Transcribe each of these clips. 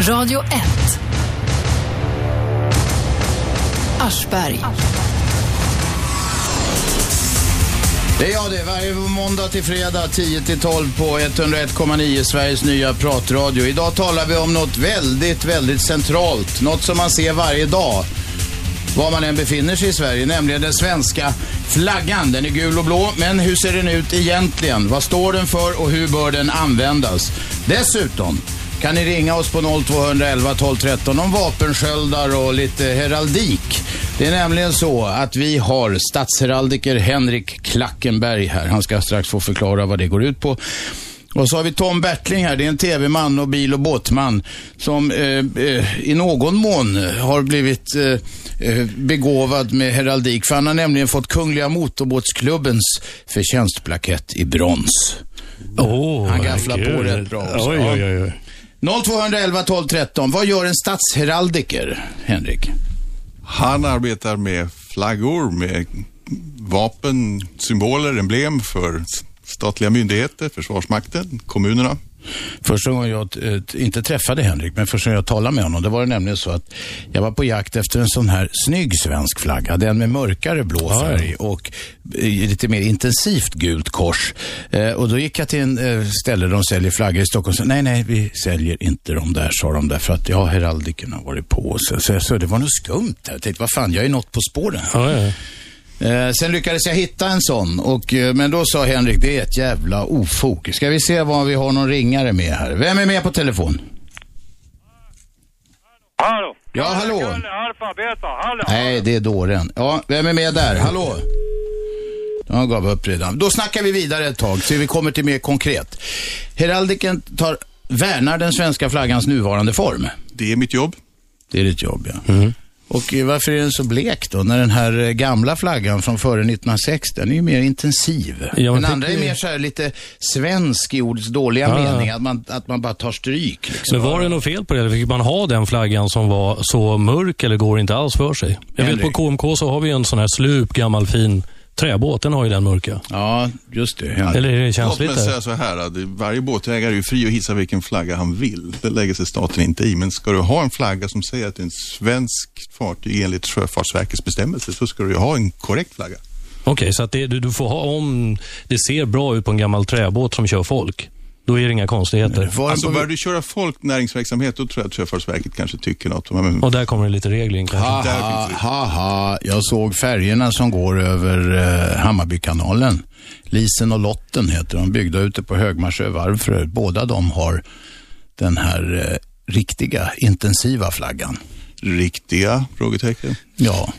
Radio 1. Aschberg. Det är jag det, varje måndag till fredag 10 till 12 på 101,9 Sveriges nya pratradio. Idag talar vi om något väldigt, väldigt centralt. Något som man ser varje dag. Var man än befinner sig i Sverige, nämligen den svenska flaggan. Den är gul och blå, men hur ser den ut egentligen? Vad står den för och hur bör den användas? Dessutom kan ni ringa oss på 0211 12 13 om vapensköldar och lite heraldik. Det är nämligen så att vi har statsheraldiker Henrik Klackenberg här. Han ska strax få förklara vad det går ut på. Och så har vi Tom Bertling här, det är en tv-man och bil och båtman som eh, eh, i någon mån har blivit eh, eh, begåvad med heraldik. För han har nämligen fått Kungliga Motorbåtsklubbens förtjänstplakett i brons. Åh, Han gafflar på herregud. rätt bra också. Oj, Ja. oj, oj, oj. 0211 12 13, vad gör en statsheraldiker, Henrik? Han arbetar med flaggor, med vapen, symboler, emblem för s- statliga myndigheter, Försvarsmakten, kommunerna. Första gången jag, eh, t- inte träffade Henrik, men första gången jag talade med honom, det var det nämligen så att jag var på jakt efter en sån här snygg svensk flagga. Den med mörkare blå färg och eh, lite mer intensivt gult kors. Eh, och då gick jag till en eh, ställe där de säljer flaggor i Stockholm. Så, nej, nej, vi säljer inte de där, sa de där, för att ja, heraldiken har varit på. Så, så jag sa, det var något skumt där. Jag tänkte, vad fan, jag är något på spåren. Ja, ja. Eh, sen lyckades jag hitta en sån, och, eh, men då sa Henrik, det är ett jävla ofog. Ska vi se vad vi har någon ringare med här. Vem är med på telefon? Hallå! Ja, hallå. Kalle, Alfa, Beta, hallå! Nej, det är dåren. Ja, vem är med där? Hallå? De gav upp redan. Då snackar vi vidare ett tag, så vi kommer till mer konkret. Heraldiken tar, värnar den svenska flaggans nuvarande form. Det är mitt jobb. Mm. Det är ditt jobb, ja. Och eh, varför är den så blek då? När den här eh, gamla flaggan från före 1906, den är ju mer intensiv. Ja, men den andra tänk är dig- Ah. mer så här lite svensk i ordets dåliga Ja. mening, att man, att man bara tar stryk. Liksom. Men var det något fel på det? Eller fick man ha den flaggan som var så mörk eller går inte alls för sig? Jag vet på Henrik. KMK så har vi en sån här slup, gammal fin träbåt. Den har ju den mörka. Ja, just det. Ja. Eller är det Låt känsligt? mig där? säga så här, att varje båtägare är ju fri att hissa vilken flagga han vill. Det lägger sig staten inte i. Men ska du ha en flagga som säger att det är en svensk fartyg enligt Sjöfartsverkets bestämmelser så ska du ju ha en korrekt flagga. Okej, så att det, du, du får ha om det ser bra ut på en gammal träbåt som kör folk. Då är det inga konstigheter. Var den Alltså på- börjar du köra folk näringsverksamhet då tror jag att Sjöfartsverket kanske tycker något. Men Och där kommer det lite regler in kanske. Haha, haha, jag såg färgerna som går över eh, Hammarbykanalen. Lisen och Lotten heter de, byggda ute på Högmarsö varv för övrigt. Båda de har den här eh, riktiga, intensiva flaggan. Riktiga frågetecken. Ja,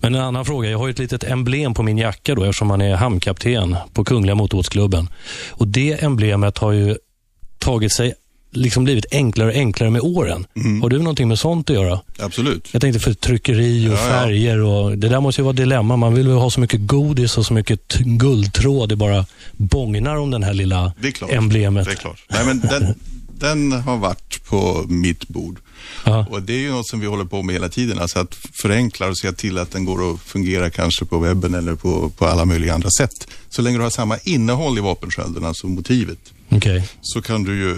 Men en annan fråga. Jag har ju ett litet emblem på min jacka då eftersom man är hamnkapten på Kungliga Motorbåtsklubben. Och det emblemet har ju tagit sig, liksom blivit enklare och enklare med åren. Har du någonting med sånt att göra? Mm. Absolut. Jag tänkte för tryckeri och Ja, ja. färger och det där måste ju vara ett dilemma. Man vill ju ha så mycket godis och så mycket t- guldtråd. Det bara bångnar om den här lilla Det är klart. emblemet. Det är klart. Nej, men den, den har varit på mitt bord. Ja. Och det är ju något som vi håller på med hela tiden. Alltså att förenkla och se till att den går att fungera kanske på webben eller på, på alla möjliga andra sätt. Så länge du har samma innehåll i vapenskölden, alltså motivet, Okej. så kan du ju eh,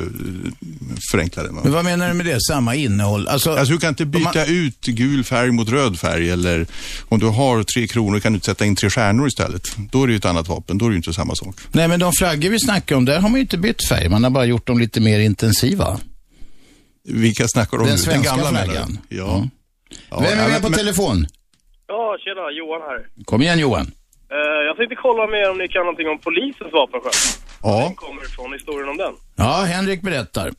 förenkla det. men Man. vad menar du med det? Samma innehåll? Alltså, Alltså du kan inte byta ut gul färg mot röd färg eller om du har tre kronor kan du inte sätta in tre stjärnor istället. Då är det ju ett annat vapen, då är det ju inte samma sak. nej, men de flaggor vi snackar om, där har man ju inte bytt färg. Man har bara gjort dem lite mer intensiva. Vilka snackar du om Den nu? svenska menar du? flaggan. Mm. Ja. ja. Vem är ja, med på men- telefon? Ja, tjena, Johan här. Kom igen Johan. Eh, jag tänkte kolla med er om ni kan någonting om polisens vapensköld. Ja. Den kommer ifrån, historien om den. Ja, Henrik berättar.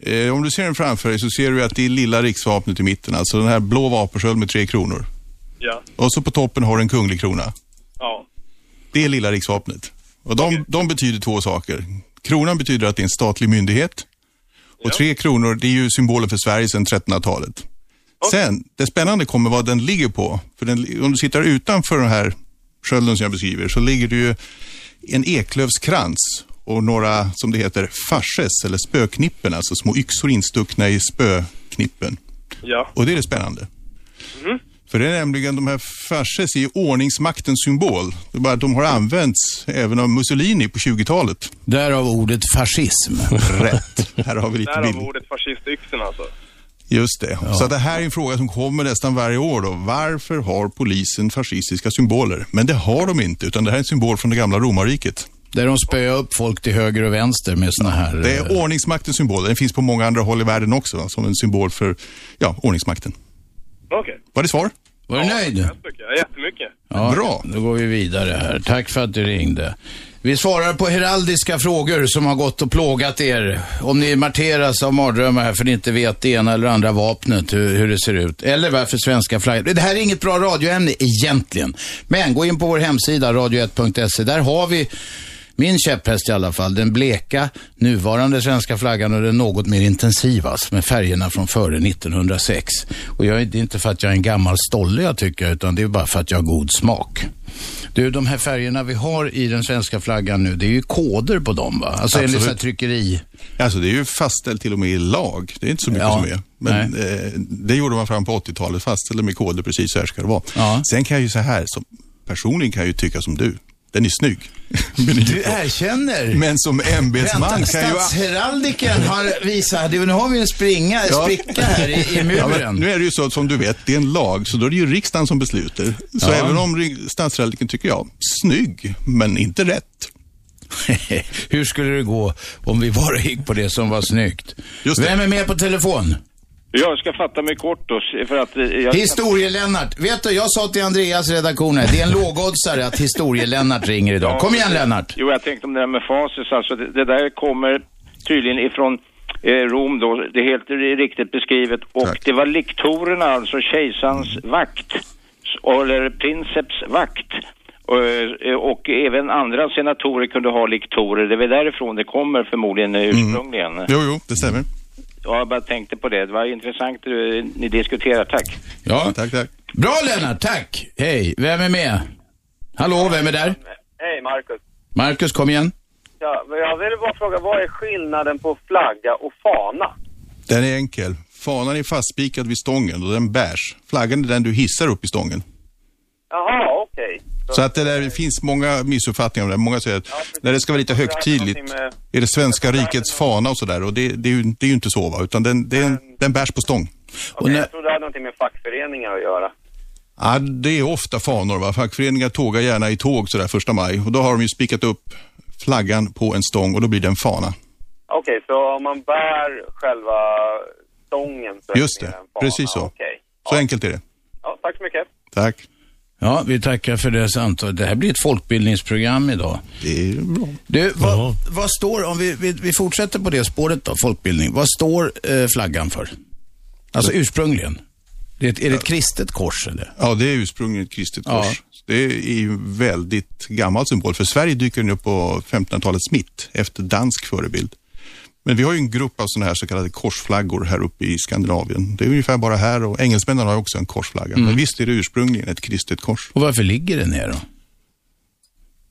Eh, om du ser den framför dig så ser du att det är lilla riksvapnet i mitten, alltså den här blå vapensköld med tre kronor. Ja. Och så på toppen har du en kunglig krona. Ja. Det är lilla riksvapnet. Och de, de betyder två saker. Kronan betyder att det är en statlig myndighet. Och tre kronor, det är ju symbolen för Sverige sedan 1300-talet. Sen, det spännande kommer vad den ligger på. För den, om du sitter utanför den här skölden som jag beskriver så ligger det ju en eklövskrans och några, som det heter, farses eller spöknippen, alltså små yxor instuckna i spöknippen. Ja. Och det är det spännande. För det är nämligen de här farses i ordningsmaktens symbol. Det är bara att de har använts även av Mussolini på 20-talet. Därav ordet fascism. Rätt. Här har vi lite Därav bild. ordet fascism. fascistyxorna alltså. Just det. Så att det här är en fråga som kommer nästan varje år. Då. Varför har polisen fascistiska symboler? Men det har de inte, utan det här är en symbol från det gamla romarriket. Där de spöar upp folk till höger och vänster med såna här... eh, Det är ordningsmaktens symbol. Den finns på många andra håll i världen också, va, som en symbol för ja, ordningsmakten. Okej. Var det svar? Var du nöjd? Tack så mycket. Ja, jättemycket. Ja, Bra. Då går vi vidare här. Tack för att du ringde. Vi svarar på heraldiska frågor som har gått och plågat er. Om ni marteras av mardrömmar här för ni inte vet det ena eller andra vapnet, hur, hur det ser ut. Eller varför svenska flaggan. Det här är inget bra radioämne egentligen. Men gå in på vår hemsida, radio1.se. Där har vi min käpphäst i alla fall, den bleka nuvarande svenska flaggan och den något mer intensiva alltså, med färgerna från före 1906. Och jag, är- det är inte för att jag är en gammal stolle jag tycker, utan det är bara för att jag har god smak. Du, de här färgerna vi har i den svenska flaggan nu, det är ju koder på dem va? Alltså enligt Absolut. så här tryckeri. Alltså det är ju fastställt till och med i lag. Det är inte så mycket Ja, som är. Men eh, det gjorde man fram på 80-talet, fastställde med koder precis så här ska det vara. Ja. Sen kan jag ju så här, som, personligen kan jag ju tycka som du. Den är snygg. Men, Du erkänner! men som ämbetsman Vänta, kan ju... statsheraldiken har visat, du, nu har vi en springa, Ja. spricka här i, i Ja, men muren. nu är det ju så att som du vet, det är en lag, så då är det ju riksdagen som beslutar. Så även om ri- statsheraldiken tycker jag, snygg, men inte rätt. Hur skulle det gå om vi bara gick på det som var snyggt? Just det. Vem är med på telefon? Jag ska fatta mig kort då, för att... eh, Jag, Historie-Lennart. Vet du, jag sa till Andreas i redaktionen, det är en lågoddsare att Historie-Lennart ringer idag. Kom igen Lennart. Jo, jag tänkte om det där med fasis, alltså det, det där kommer tydligen ifrån eh, Rom då, det är helt riktigt beskrivet. Och Tack. det var lektorerna, alltså kejsarens Mm. vakt, s- eller princeps vakt. Eh, Och även andra senatorer kunde ha lektorer. Det är väl därifrån det kommer förmodligen Mm. eh, ursprungligen. Jo, jo, det stämmer. Ja, jag bara tänkte på det. Det var intressant eh, ni diskuterar. Tack. Ja. Tack, tack. Bra Lennart, tack. Hej, vem är med? Hallå, vem är där? Hej Marcus. Marcus, kom igen. Ja, men jag ville bara fråga, vad är skillnaden på flagga och fana? Den är enkel. Fanan är fastspikad vid stången och den bärs. Flaggan är den du hissar upp i stången. Jaha, okej. Så att det, där, det finns många missuppfattningar om det. Många säger att när det ska vara lite högtidligt är det svenska rikets fana och sådär. Och det, det, är ju, det är ju inte så, va? utan den, det är en, den bärs på stång. Och när, Jag trodde det hade någonting med fackföreningar att göra. Ja, det är ofta fanor. Va? Fackföreningar tågar gärna i tåg sådär första maj och då har de ju spikat upp flaggan på en stång och då blir det en fana. Okej, så om man bär själva stången så Just är det det, mer en fana. precis så. Okej. Så enkelt är det. Ja, tack så mycket. Tack. ja, vi tackar för det samtalet. Det här blir ett folkbildningsprogram idag. Det är bra. Du, vad, Ja. vad står, om vi, vi, vi fortsätter på det spåret då, folkbildning. Vad står eh, flaggan för? Alltså ursprungligen. Det är, ett, är det ett kristet kors eller? Ja, det är ursprungligen ett kristet Ja. kors. Det är ju en väldigt gammal symbol. För Sverige dyker den upp på 1500-talets mitt efter dansk förebild. Men vi har ju en grupp av sådana här så kallade korsflaggor här uppe i Skandinavien. Det är ungefär bara här och engelsmännen har ju också en korsflagga. Mm. Men visst är det ursprungligen ett kristet kors? Och varför ligger den ner då?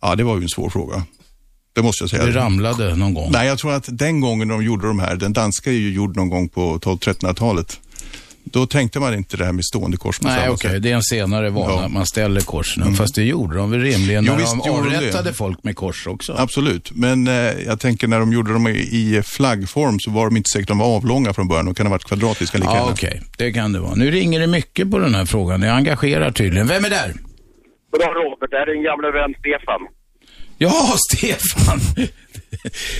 Ja, det var ju en svår fråga. Det måste jag säga. Det ramlade någon gång. Nej, jag tror att den gången de gjorde de här, den danska är ju gjord någon gång på 1200-1300-talet. Då tänkte man inte det här med stående kors på Nej, samma okej. sätt. Det är en senare vana. Ja. Mm. att Man ställer korsen. Fast det gjorde de väl rimligen Jo, när visst de gjorde de det. avrättade folk med kors också. Absolut, men eh, jag tänker när de gjorde dem i, i flaggform så var de inte säkert de var avlånga från början. De kan ha varit kvadratiska lika Ja, gärna. Ah, okej. Det kan det vara. Nu ringer det mycket på den här frågan. Det engagerar tydligen. Vem är där? Bra Robert, det här är din gamla vän Stefan. Ja, Stefan!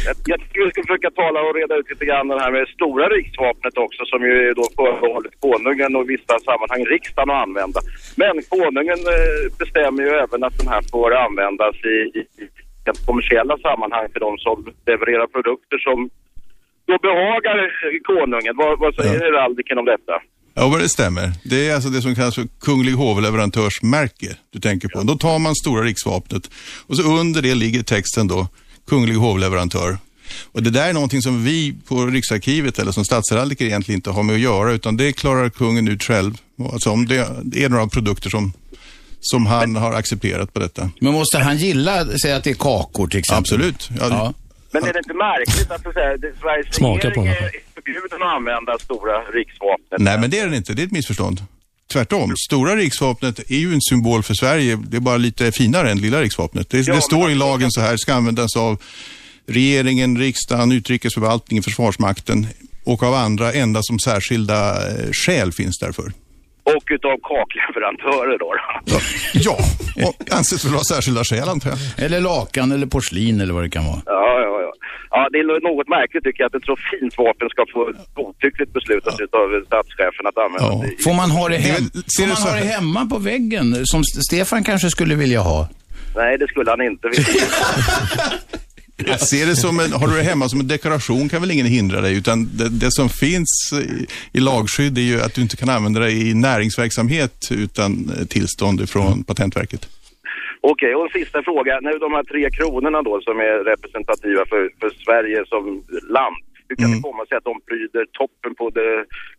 Jag, jag tycker vi ska försöka tala och reda ut lite grann det här med stora riksvapnet också som ju är då förbehållet konungen och i vissa sammanhang riksdagen att använda. Men konungen eh, bestämmer ju även att den här får användas i, i, i kommersiella sammanhang för de som levererar produkter som då behagar eh, konungen. Vad, vad säger Ja. heraldiken om detta? Ja, men det stämmer. Det är alltså det som kallas för kunglig hovleverantörsmärke du tänker på. Då tar man stora riksvapnet och så under det ligger texten då, kunglig hovleverantör. Och det där är någonting som vi på Riksarkivet eller som statsheraldiker egentligen inte har med att göra utan det klarar kungen ut själv. Alltså om det det är några produkter som, som han har accepterat på detta. Men måste han gilla, säga att det är kakor till exempel? Absolut. Ja, Ja. Men är det inte märkligt att, så att säga, det, Sveriges Smaka på regering den. är förbjuden att använda stora riksvapnet? Nej, men det är den inte. Det är ett missförstånd. Tvärtom. Stora riksvapnet är ju en symbol för Sverige. Det är bara lite finare än lilla riksvapnet. Det, det men- står i lagen så här, ska användas av regeringen, riksdagen, utrikesförvaltningen, försvarsmakten och av andra endast som särskilda eh, skäl finns därför. Och utav kakleverantörer då. då. Ja, och anses väl ha särskilda skäl antar jag. Eller lakan eller porslin eller vad det kan vara. Ja, ja, ja. ja, det är nog något märkligt tycker jag att ett så fint vapen ska få godtyckligt beslutas utav statschefen att använda. Ja. sig i. Får man ha det, Det är hem... väl- ser Får det man så ha här? det hemma på väggen som S- Stefan kanske skulle vilja ha? Nej, det skulle han inte vilja. Jag ser det som en, har du det hemma som en dekoration kan väl ingen hindra dig, utan det, det som finns i, i lagskydd är ju att du inte kan använda det i näringsverksamhet utan eh, tillstånd Mm. från Patentverket. Okej, och en sista fråga. Nu de här tre kronorna då som är representativa för, för Sverige som land. Hur Mm. kan Mm. det komma sig att de pryder toppen på det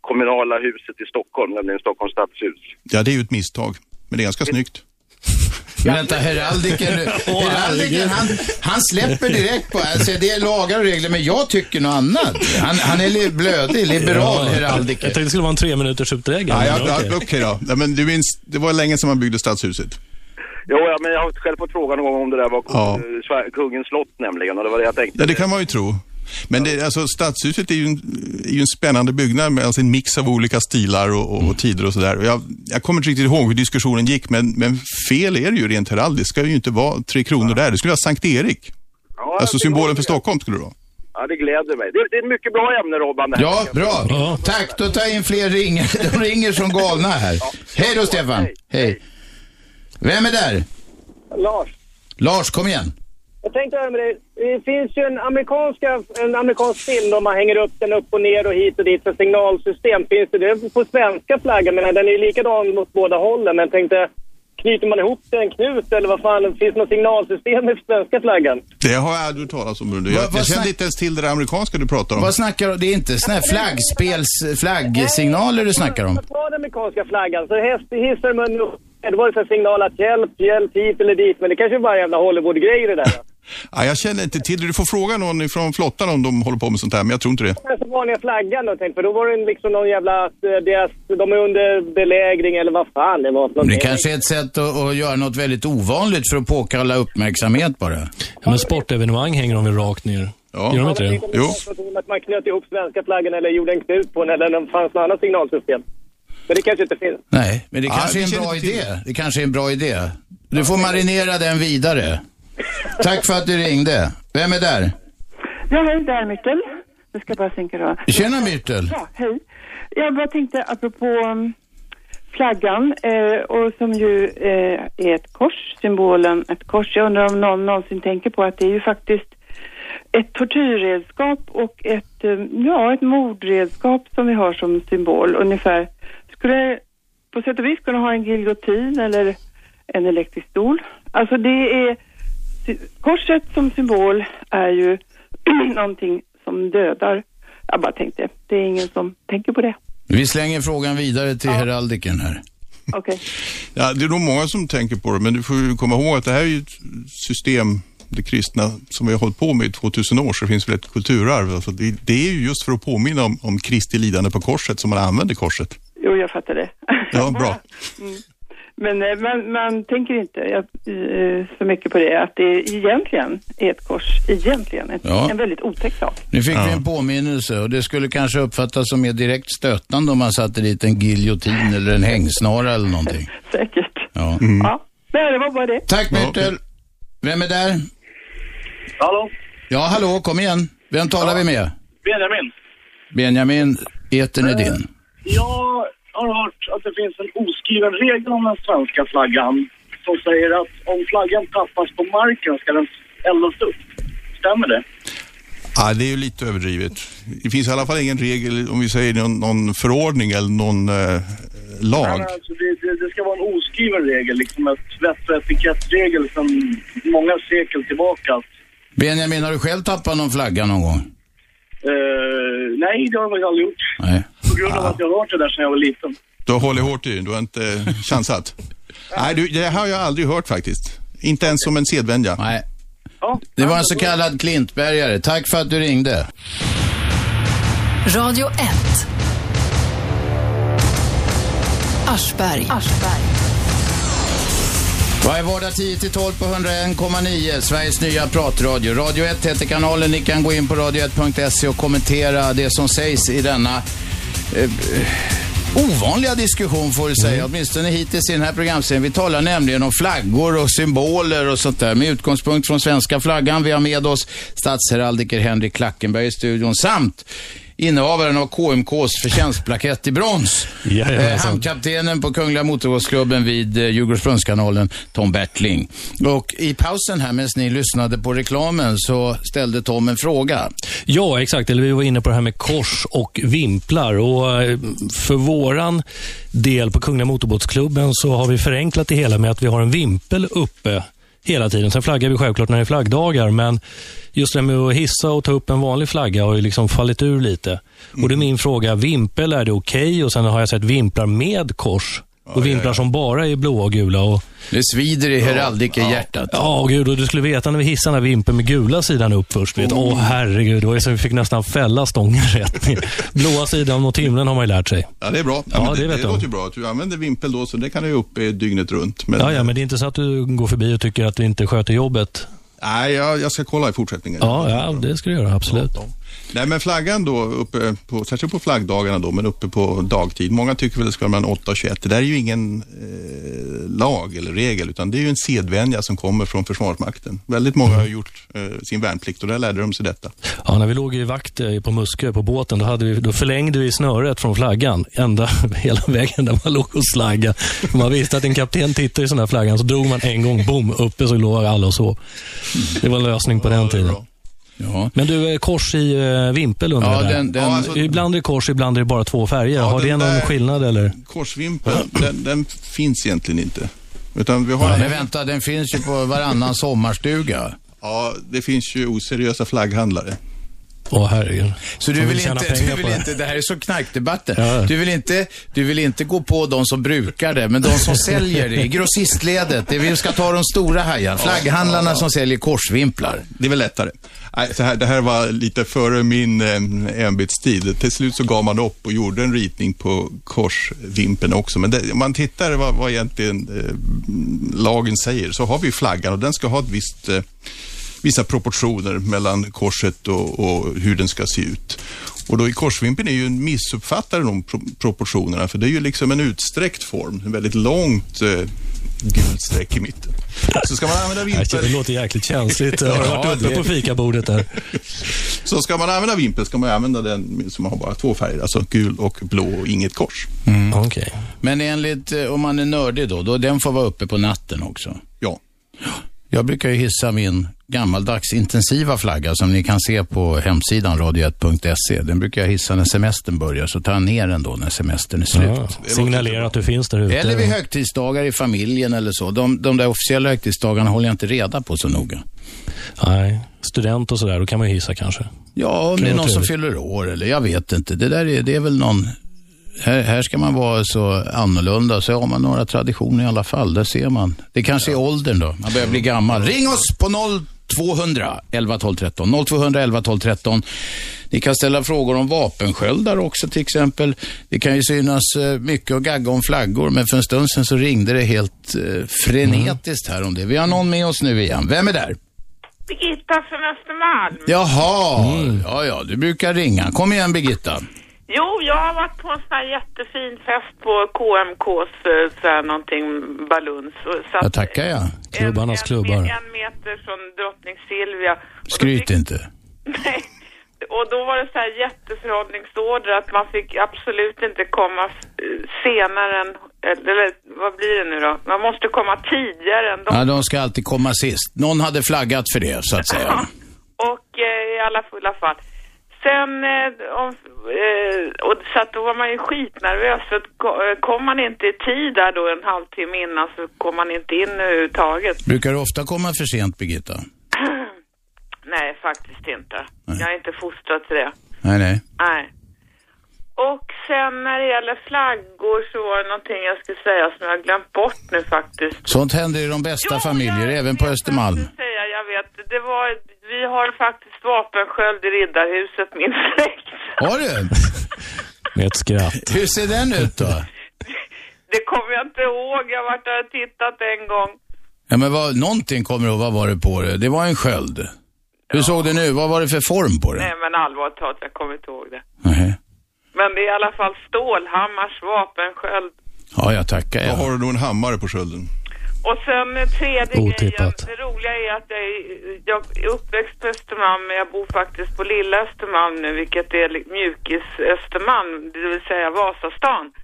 kommunala huset i Stockholm, nämligen Stockholms stadshus? Ja, det är ju ett misstag, men det är ganska snyggt. Men Vänta, heraldiken, heraldiken han, han släpper direkt på, alltså det är lagar och regler, men jag tycker något annat. Han, han är li- blödig, liberal Jag heraldiker. tänkte det skulle vara en tre minuters utläggning. Ja, men ja, ja, okej. Okej då, Nej, men du minns, det var länge sedan man byggde stadshuset. Jo, ja, men jag har själv fått frågan någon gång om det där var Ja. eh, Sver- kungens slott nämligen och det var det jag tänkte. Ja, det kan man ju tro. Men det, alltså, stadshuset är ju, en, är ju en spännande byggnad med alltså en mix av olika stilar och, och, och tider och sådär. Och Jag, jag kommer inte riktigt ihåg hur diskussionen gick, men, men fel är det ju rent heraldiskt. Det ska ju inte vara Tre Kronor där. Det skulle vara Sankt Erik. Ja, Alltså det symbolen för gläder mig. Stockholm skulle det vara. Ja, det gläder mig. Det, det är ett mycket bra ämne, Robban, det här. Ja, bra. Tack, då tar jag in fler ringer. De ringer som galna här. Hej då Stefan. Hej. Hej. Vem är där? Lars, Lars, kom igen. jag tänkte över det. Det finns ju en, amerikanska, en amerikansk film då man hänger upp den upp och ner och hit och dit för signalsystem. Finns det det på svenska flaggan? Men den är ju likadan mot båda hållen. Men jag tänkte, knyter man ihop den knut eller vad fan? Finns det något signalsystem i svenska flaggan? Det har jag aldrig hört talas om. Rune. Vad- Jag, vad jag snack- kände inte ens till det där amerikanska du pratar om. Vad snackar du om? Det är inte såna här flaggspels, flaggsignaler du snackar om? Jag tar den amerikanska flaggan, så häst, hissar munnen upp. Det var ju för signal att hjälp, hjälp hit eller dit. Men det kanske bara är jävla Hollywood-grejer det där. Ja, jag känner inte till det. Du får fråga någon från flottan om de håller på med sånt här, men jag tror inte det. Den så vanliga flaggan då, tänk, för då var det liksom någon jävla, att eh, deras, de är under belägring eller vad fan det var för Det någonting. kanske är ett sätt att, att göra något väldigt ovanligt för att påkalla uppmärksamhet bara. Ja, men sportevenemang hänger de väl rakt ner? Ja. Gör de Ja, inte det? men Jo. tänk om det var Att man knöt ihop svenska flaggan eller gjorde en knut på den eller om det fanns något annat signalsystem. Men det kanske inte finns. Nej, men det Ja, kanske är vi en känner bra till idé. Det kanske är en bra idé. Du får marinera den vidare. Tack för att du ringde. Vem är där? Ja, hej, det är Myrtel. Nu ska jag bara sänka då. Tjena Myrtel. Ja, hej. Jag bara tänkte apropå um, flaggan eh, och som ju eh, är ett kors, symbolen ett kors. Jag undrar om någon någonsin tänker på att det är ju faktiskt ett tortyrredskap och ett, eh, ja, ett mordredskap som vi har som symbol ungefär. Skulle på sätt och vis kunna ha en giljotin eller en elektrisk stol. Alltså det är, korset som symbol är ju någonting som dödar. Jag bara tänkte, det är ingen som tänker på det. Vi slänger frågan vidare till heraldiken här. Okej. Ja, det är nog många som tänker på det, men du får ju komma ihåg att det här är ju ett system, det kristna, som vi har hållit på med i 2000 år, så det finns väl ett kulturarv. Alltså det, det är ju just för att påminna om, om Kristi lidande på korset som man använder korset. Jo, jag fattar det. Ja, bra. Mm. Men eh, man, man tänker inte jag, eh, så mycket på det, att det egentligen är ett kors. Egentligen. Ett, Ja. En väldigt otäck sak. Nu fick vi en påminnelse och det skulle kanske uppfattas som mer direkt stötande om man satte dit en giljotin eller en hängsnara eller någonting. Säkert. Ja. Mm. Ja. Nej, det var bara det. Tack Myrtel. Vem är där? Hallå? Ja, hallå, kom igen. Vem talar vi med? Benjamin? Benjamin, etern är din. Jag har hört att det finns en oskriven regel om den svenska flaggan som säger att om flaggan tappas på marken ska den eldas upp. Stämmer det? Ja, det är ju lite överdrivet. Det finns i alla fall ingen regel, om vi säger någon, någon förordning eller någon eh, Nej, lag. men alltså det, det, det ska vara en oskriven regel, liksom ett vett och etikettregel sedan många sekel tillbaka. Att, Benjamin, har du själv tappat någon flagga någon gång? eh, nej, det har jag aldrig gjort. Nej. På grund av att jag har hört det där sedan jag var liten. Du har hållit hårt i den, du har inte chansat. Nej, du, det här har jag aldrig hört faktiskt. Inte ens som en sedvänja. Nej. Ja. Det var en så kallad klintbergare. Tack för att du ringde. Radio 1. Aschberg. Varje vardag 10-12 på 101,9, Sveriges nya pratradio. Radio 1 heter kanalen. Ni kan gå in på radio1.se och kommentera det som sägs i denna eh, ovanliga diskussion, får du säga. Åtminstone hittills i den här programserien. Vi talar nämligen om flaggor och symboler och sånt där. Med utgångspunkt från svenska flaggan. Vi har med oss statsheraldiker Henrik Klackenberg i studion samt innehavaren av KMKs förtjänstplakett i brons. Eh, Jajamensan. Hamnkaptenen på Kungliga Motorbåtsklubben vid eh, Djurgårdsbrunnskanalen, Tom Bertling. Och i pausen här, medan ni lyssnade på reklamen, så ställde Tom en fråga. Ja, exakt. Eller vi var inne på det här med kors och vimplar. Och eh, för våran del på Kungliga Motorbåtsklubben så har vi förenklat det hela med att vi har en vimpel uppe hela tiden. Sen flaggar vi självklart när det är flaggdagar, men just det här med att hissa och ta upp en vanlig flagga har ju liksom fallit ur lite. Och då är min fråga, vimpel, är det okej? Och sen har jag sett vimplar med kors och vimplar som bara är blåa och gula. Och, Det svider i heraldikerhjärtat. Ja, gud, och du skulle veta när vi hissade den här vimpeln med gula sidan upp först. Vet. Mm. Åh, herregud. Det var ju så vi fick nästan fälla stången rätt ner. Blåa sidan mot himlen har man ju lärt sig. Ja, det är bra. Ja, men det vet det jag. låter ju bra att du använder vimpel då, så det kan du ju upp eh, dygnet runt. Men, Ja, ja, men det är inte så att du går förbi och tycker att vi inte sköter jobbet. Nej, jag, jag ska kolla i fortsättningen. Ja, ja det ska du göra, absolut. Nej, men flaggan då, uppe på, särskilt på flaggdagarna då, men uppe på dagtid. Många tycker väl det ska vara mellan 8 och 21. Det där är ju ingen eh, lag eller regel, utan det är ju en sedvänja som kommer från Försvarsmakten. Väldigt många Mm. har gjort eh, sin värnplikt och där lärde de sig detta. Ja, när vi låg i vakt eh, på Muskö på båten, då, hade vi, då förlängde vi snöret från flaggan ända hela vägen där man låg och slaggade. För Man visste att en kapten tittade i sån här flaggan, så drog man en gång, boom, uppe så låg alla och sov. Det var en lösning på den tiden. Ja. Men du, eh, kors i eh, vimpel undrar Ja, jag där. den- den- Ja, alltså- Ibland är det kors, ibland är det bara två färger. Ja, Har det den någon där- skillnad eller? Korsvimpeln, den, den finns egentligen inte. Utan vi har Men vänta, den finns ju på varannan sommarstuga. Ja, det finns ju oseriösa flagghandlare. Åh herregud. Så du Som vill, tjäna inte, du pengar på vill det. inte, det här är så knarkdebatter. Ja. Du, vill inte, du vill inte gå på de som brukar det, men de som säljer det i grossistledet. Det vi ska ta de stora hajarna, flagghandlarna som säljer korsvimplar. Det är väl lättare. Nej, så här, det här var lite före min eh, ämbetstid. Till slut så gav man upp och gjorde en ritning på korsvimpen också. Men det, om man tittar vad, vad egentligen eh, lagen säger så har vi flaggan och den ska ha ett visst, eh, vissa proportioner mellan korset och, och hur den ska se ut. Och då i korsvimpen är ju en missuppfattare de pro- proportionerna för det är ju liksom en utsträckt form, en väldigt långt eh, gult streck i mitten. Så ska man använda Nej, vimpel... Det låter jäkligt känsligt. Jag har Ja, varit uppe det- på fikabordet där. Så ska man använda vimpel ska man använda den som har bara två färger, alltså gul och blå och inget kors. Mm, Okej. Men enligt, eh, om man är nördig då, då den får vara uppe på natten också. Ja. Jag brukar ju hissa min gammaldags intensiva flagga som ni kan se på hemsidan radio1.se. Den brukar jag hissa när semestern börjar, så tar jag ner den då när semestern är slut. Ja, signalera att du finns där ute. Eller vid högtidsdagar i familjen eller så. De, de där officiella högtidsdagarna håller jag inte reda på så noga. Nej, student och sådär, då kan man ju hissa kanske. Ja, om det är vara någon som trevligt. fyller år eller jag vet inte. Det där är, det är väl någon... Här, här ska man vara så annorlunda, så har man några traditioner i alla fall. Där ser man. Det kanske är åldern då. Man börjar bli gammal. Ring oss på 0200 11 12 13. 0200 11 12 13. Ni kan ställa frågor om vapensköldar också till exempel. Det kan ju synas eh, mycket att gagga om flaggor, men för en stund sedan så ringde det helt eh, frenetiskt här om det. Vi har någon med oss nu igen. Vem är där? Birgitta från Östermalm. Jaha, Mm. ja, ja, du brukar ringa. Kom igen Birgitta. Jo, jag har varit på en sån här jättefin fest på KMKs, eh, så här någonting, baluns. och- Så Jag att tackar jag. Klubbarnas en, klubbar. en meter från drottning Silvia. Och då Skryt fick- inte. Nej. Och då var det så här jätteförhållningsorder att man fick absolut inte komma eh, senare än, eller vad blir det nu då? Man måste komma tidigare än de Ja, de ska alltid komma sist. Någon hade flaggat för det, så att säga. Och eh, i alla fulla fall. Sen, eh, om, eh, och, så att då var man ju skitnervös för att ko- eh, kom man inte i tid där då en halvtimme innan så kom man inte in överhuvudtaget. Brukar du ofta komma för sent, Birgitta? Nej, faktiskt inte. Jag är inte fostrad till det. Nej, nej. Nej. Och sen när det gäller flaggor så var det någonting jag skulle säga som jag har glömt bort nu faktiskt. Sånt händer i de bästa familjer, även på Östermalm. Säga, jag vet, det var, vi har faktiskt vapensköld i Riddarhuset, min släkt. Har du? Med ett skratt. Hur ser den ut då? Det kommer jag inte ihåg. Jag har varit där och tittat en gång. Ja, men vad, någonting kommer du ihåg. Vad var det på det? Det var en sköld. Hur såg det nu? Vad var det för form på det? Nej men allvarligt talat, jag kommer inte ihåg det. Nej. Men det är i alla fall Stålhammars vapensköld. Ja, jag tackar. Då har du nog en hammare på skölden. Och sen eh, tredje grejen, Otippat. det roliga är att jag, är- jag är uppväxt på Östermalm men jag bor faktiskt på Lilla Östermalm nu vilket är li- mjukis Östermalm, det vill säga Vasastan.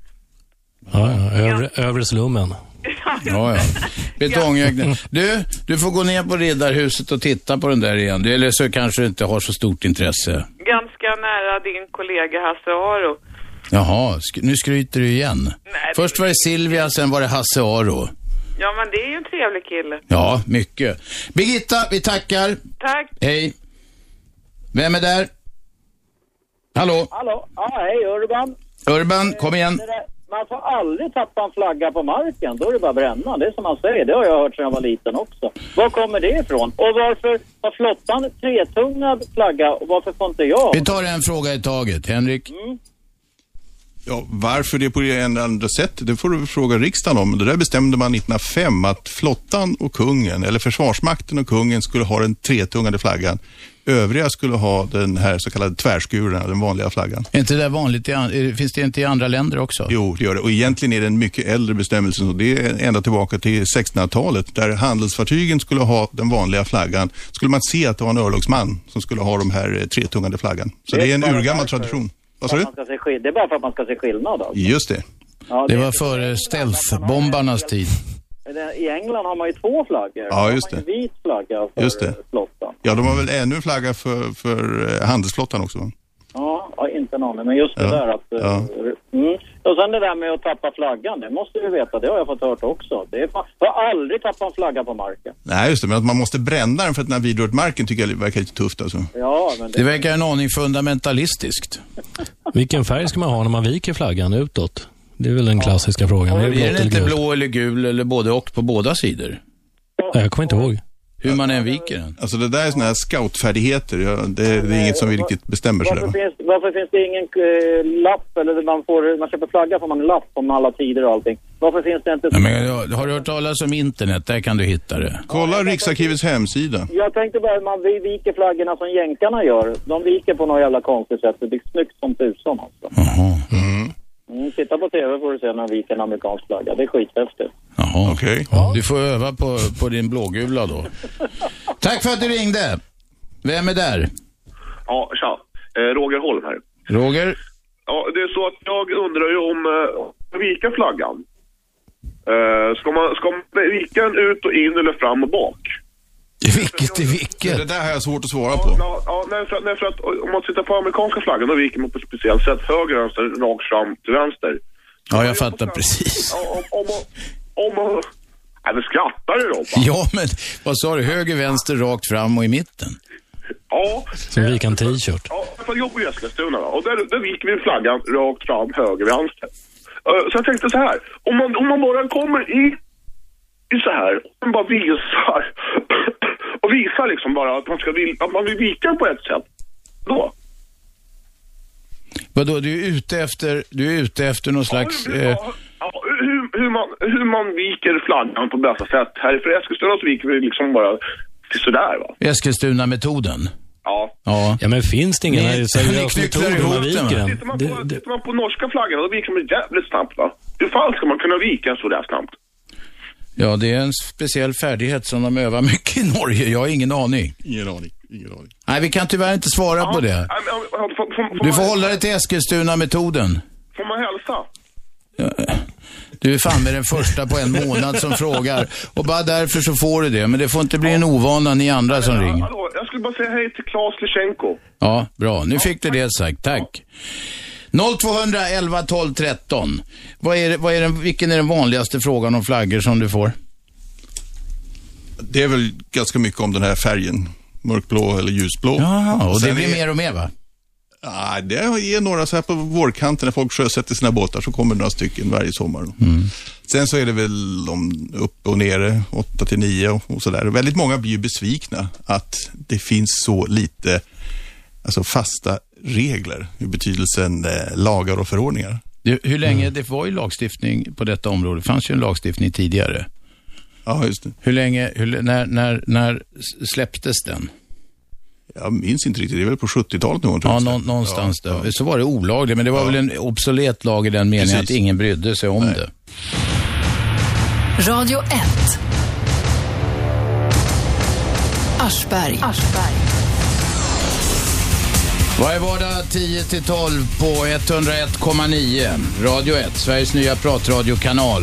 Ja, ja, övre, övre slummen. Ja, ja. Betongöknen. Du, du får gå ner på Riddarhuset och titta på den där igen. Du- Eller så kanske du inte har så stort intresse. Ganska nära din kollega Hasse Aro. Jaha, sk- nu skryter du igen. Först var det Silvia, sen var det Hasse Aro. Ja men det är ju en trevlig kille. Ja, mycket. Birgitta, vi tackar. Tack. Hej. Vem är där? Hallå? Hallå, ja hej alltså, Urban. Urban, kom igen. Det där- Man får aldrig tappa en flagga på marken, då är det bara att bränna. Det är som man säger, det har jag hört sedan jag var liten också. Var kommer det ifrån? Och varför har flottan tretungad flagga och varför får inte jag? Vi tar en fråga i taget. Henrik? Mm. Ja, varför det är på det ena eller andra sättet, det får du fråga riksdagen om. Det där bestämde man 1905 att flottan och kungen, eller försvarsmakten och kungen skulle ha den tretungade flaggan. Övriga skulle ha den här så kallade tvärskuren, den vanliga flaggan. Är inte det där vanligt? i an- är- Finns det inte i andra länder också? Jo, det gör det. Och egentligen är det en mycket äldre bestämmelse. Så det är ända tillbaka till 1600-talet där handelsfartygen skulle ha den vanliga flaggan. Skulle man se att det var en örlogsman som skulle ha de här eh, tretungade flaggan. Så det är en urgammal tradition. Vad sa För du? att man ska se skill- Det är bara för att man ska se skillnad alltså. Just det. Ja, Det var före stealth-bombarnas tid. det- I England har man ju två flaggor. Ja, just De har det. ju En vit flagga. eh, för- Just det. Ja, de har väl ännu en flagga för, för eh, handelsflottan också? va? Ja, ja, inte en aning, men just det Ja. där att... eh, Ja. Mm. Och sen det där med att tappa flaggan, det måste du veta, det har jag fått hört också. Det är fan, jag har aldrig tappat en flagga på marken. Nej, just det. Men att man måste bränna den för att den har vidrört marken tycker jag verkar lite tufft alltså. Ja, men Det verkar en aning fundamentalistiskt. Vilken färg ska man ha när man viker flaggan utåt? Det är väl den klassiska frågan. Är Blir det blått den eller inte gult? blå eller gul eller både och på båda sidor? Nej, jag kommer inte ihåg. Hur man än viker den. Alltså det där är sådana här scoutfärdigheter. Ja, det, det är inget som vi riktigt bestämmer sig Varför över. finns, varför finns det ingen eh, lapp, eller det man får, man köper flagga får man en lapp om alla tider och allting. Varför finns det inte... Ja, men, jag- har du hört talas om internet? Där kan du hitta det. Kolla Riksarkivets hemsida. Jag tänkte bara, man vi- viker flaggorna som jänkarna gör. De viker på något jävla konstigt sätt. Det blir snyggt som tusan alltså. Mm, titta på TV får du se när de viker en amerikansk flagga. Det är skithäftigt. Jaha. Okej. Du får öva på, på din blågula då. Tack för att du ringde. Vem är där? Ja, tja. Eh, Roger Holm här. Roger? Ja, det är så att jag undrar ju om eh, vika flaggan. Eh, ska, man, ska man vika den ut och in eller fram och bak? Vilket är vilket? Det där har jag svårt att svara på. Ja, ja nej, för, nej, för att om man tittar på amerikanska flaggan, då viker man på ett speciellt sätt. Höger, vänster, rakt fram till vänster. Ja, jag fattar precis. Ja, om, om, om, om, om Nej, men skrattar du då? Ja, men vad sa du? Höger, vänster, rakt fram och i mitten? Ja, Som vikan t-shirt. Ja, för jag bor i Eskilstuna va? och där, där viker vi flaggan rakt fram, höger, vänster. Eh, Så jag tänkte så här, om man, om man bara kommer i, i så här, och man bara visar och visar liksom bara att man, ska, vil- att man vill vika på ett sätt. Då. Vadå, du är ute efter, du är ute efter någon slags... Eh, Ja, hur, hur, man, hur man viker flaggan på bästa sätt. Härifrån Eskilstuna så viker vi liksom bara till sådär va. Eskilstuna-metoden? Ja. Ja. ja, men finns det ingen Ni- seriös ni knycklar metod hur man ihop den, viker va? den? Man får, tittar man på norska flaggan då viker man jävligt snabbt va. Hur fan ska man kunna vika sådär snabbt? Ja, det är en speciell färdighet som de övar mycket i Norge. Jag har ingen aning. Ingen aning. Ingen aning. Nej, vi kan tyvärr inte svara på det. Nej, men, ja, får, får, får, Du man, får hålla dig till Eskilstuna-metoden. får man hälsa? Du är fan med den första på en månad som frågar. Och bara därför så får du det. Men det får inte bli en ovana ni andra som ringer. Hallå, jag skulle bara säga hej till Klas Lyschenko. Ja, bra. Nu fick du det sagt. Tack. 0200 11 12 13. Vad är det, vad är den, vilken är den vanligaste frågan om flaggor som du får? Det är väl ganska mycket om den här färgen. Mörkblå eller ljusblå. Jaha, och det Sen blir är- mer och mer va? Ja, det är några så här på vårkanten när folk sjösätter sina båtar så kommer det några stycken varje sommar. Mm. Sen så är det väl om upp och nere, 8 till 9 och, och sådär. Väldigt många blir ju besvikna att det finns så lite alltså fasta regler i betydelsen eh, lagar och förordningar. Mm. Du, hur länge, det var ju lagstiftning på detta område. Det fanns ju en lagstiftning tidigare. Ja, just det. Hur länge, hur, när, när, när släpptes den? Jag minns inte riktigt, det är väl på 70-talet någon, Ja, nå, någonstans där. Så var det olagligt, men det var väl en obsolet lag i den meningen Precis. att ingen brydde sig om det. Radio 1. Aschberg. Varje vardag 10-12 på 101,9. Radio 1, Sveriges nya pratradiokanal.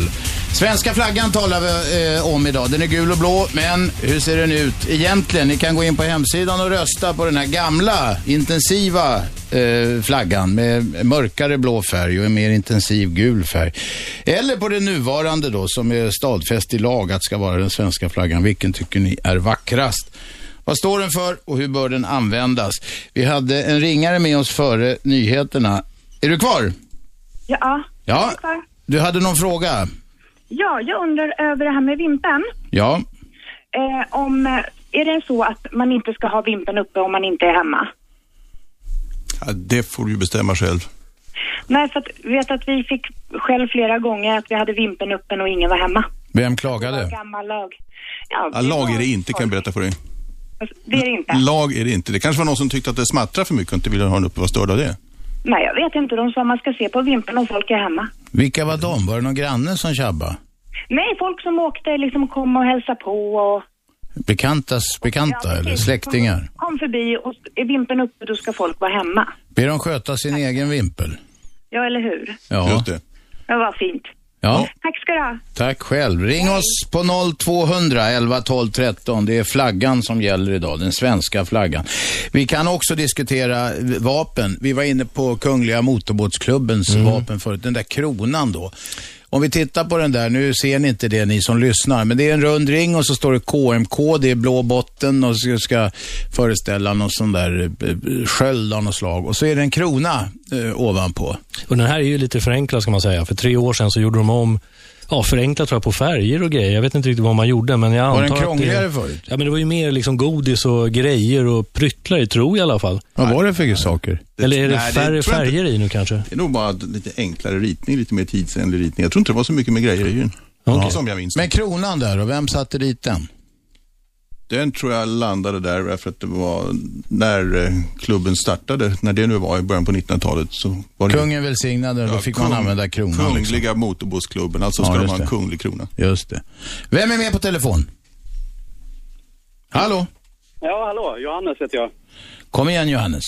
Svenska flaggan talar vi eh, om idag. Den är gul och blå, men hur ser den ut egentligen? Ni kan gå in på hemsidan och rösta på den här gamla, intensiva eh, flaggan med mörkare blå färg och en mer intensiv gul färg. Eller på den nuvarande då, som är stadfäst i lag att ska vara den svenska flaggan. Vilken tycker ni är vackrast? Vad står den för och hur bör den användas? Vi hade en ringare med oss före nyheterna. Är du kvar? Ja. Ja. Du hade någon fråga? ja, jag undrar över det här med vimpen. Ja. Eh, om, eh, är det så att man inte ska ha vimpen uppe om man inte är hemma? Ja, det får du ju bestämma själv. Nej, för att vet att vi fick själv flera gånger att vi hade vimpen uppe och ingen var hemma. Vem klagade? Gammal lag. Ja, Ja, lag är det inte, kan jag berätta för dig. det är det inte. Lag är det inte. Det kanske var någon som tyckte att det smattrade för mycket och inte ville ha den uppe och var störd av det. Nej, jag vet inte. De sa man ska se på vimpen om folk är hemma. Vilka var de? Var det någon granne som tjabbade? Nej, folk som åkte liksom kom och hälsade på och Bekantas bekanta eller släktingar? kom förbi och är vimpen uppe då ska folk vara hemma. Be dem sköta sin egen vimpel. Ja, eller hur? Ja. Det var fint. Ja, Tack ska du ha. tack själv. Ring oss på 0200 11 12 13. Det är flaggan som gäller idag, den svenska flaggan. Vi kan också diskutera vapen. Vi var inne på Kungliga Motorbåtsklubbens Mm. vapen förut, den där kronan då. Om vi tittar på den där, nu ser ni inte det ni som lyssnar, men det är en rund ring och så står det KMK, det är blå botten och så ska föreställa någon sån där eh, sköld av något slag. Och så är det en krona eh, ovanpå. Och den här är ju lite förenklad ska man säga. För tre år sedan så gjorde de om, ja förenklat tror jag på färger och grejer. Jag vet inte riktigt vad man gjorde men jag Var antar den att krångligare det, förut? Ja men det var ju mer liksom godis och grejer och pryttlar i tror jag i alla fall. Vad var det för saker? Eller är det Nej, det färre tror jag inte. färger i nu kanske? Det är nog bara lite enklare ritning, lite mer tidsenlig ritning. Jag tror inte det var så mycket med grejer i den. Okej. Som jag minns Men kronan där och vem satte dit den? Den tror jag landade där för att det var när eh, klubben startade, när det nu var i början på 1900-talet. Så var det Kungen välsignade den, då fick man använda kronan. Kungliga liksom. motorbåtsklubben, alltså Ja, ska de just ha en det. kunglig krona. Just det. Vem är med på telefon? Hallå? Ja, hallå. Johannes heter jag. Kom igen Johannes.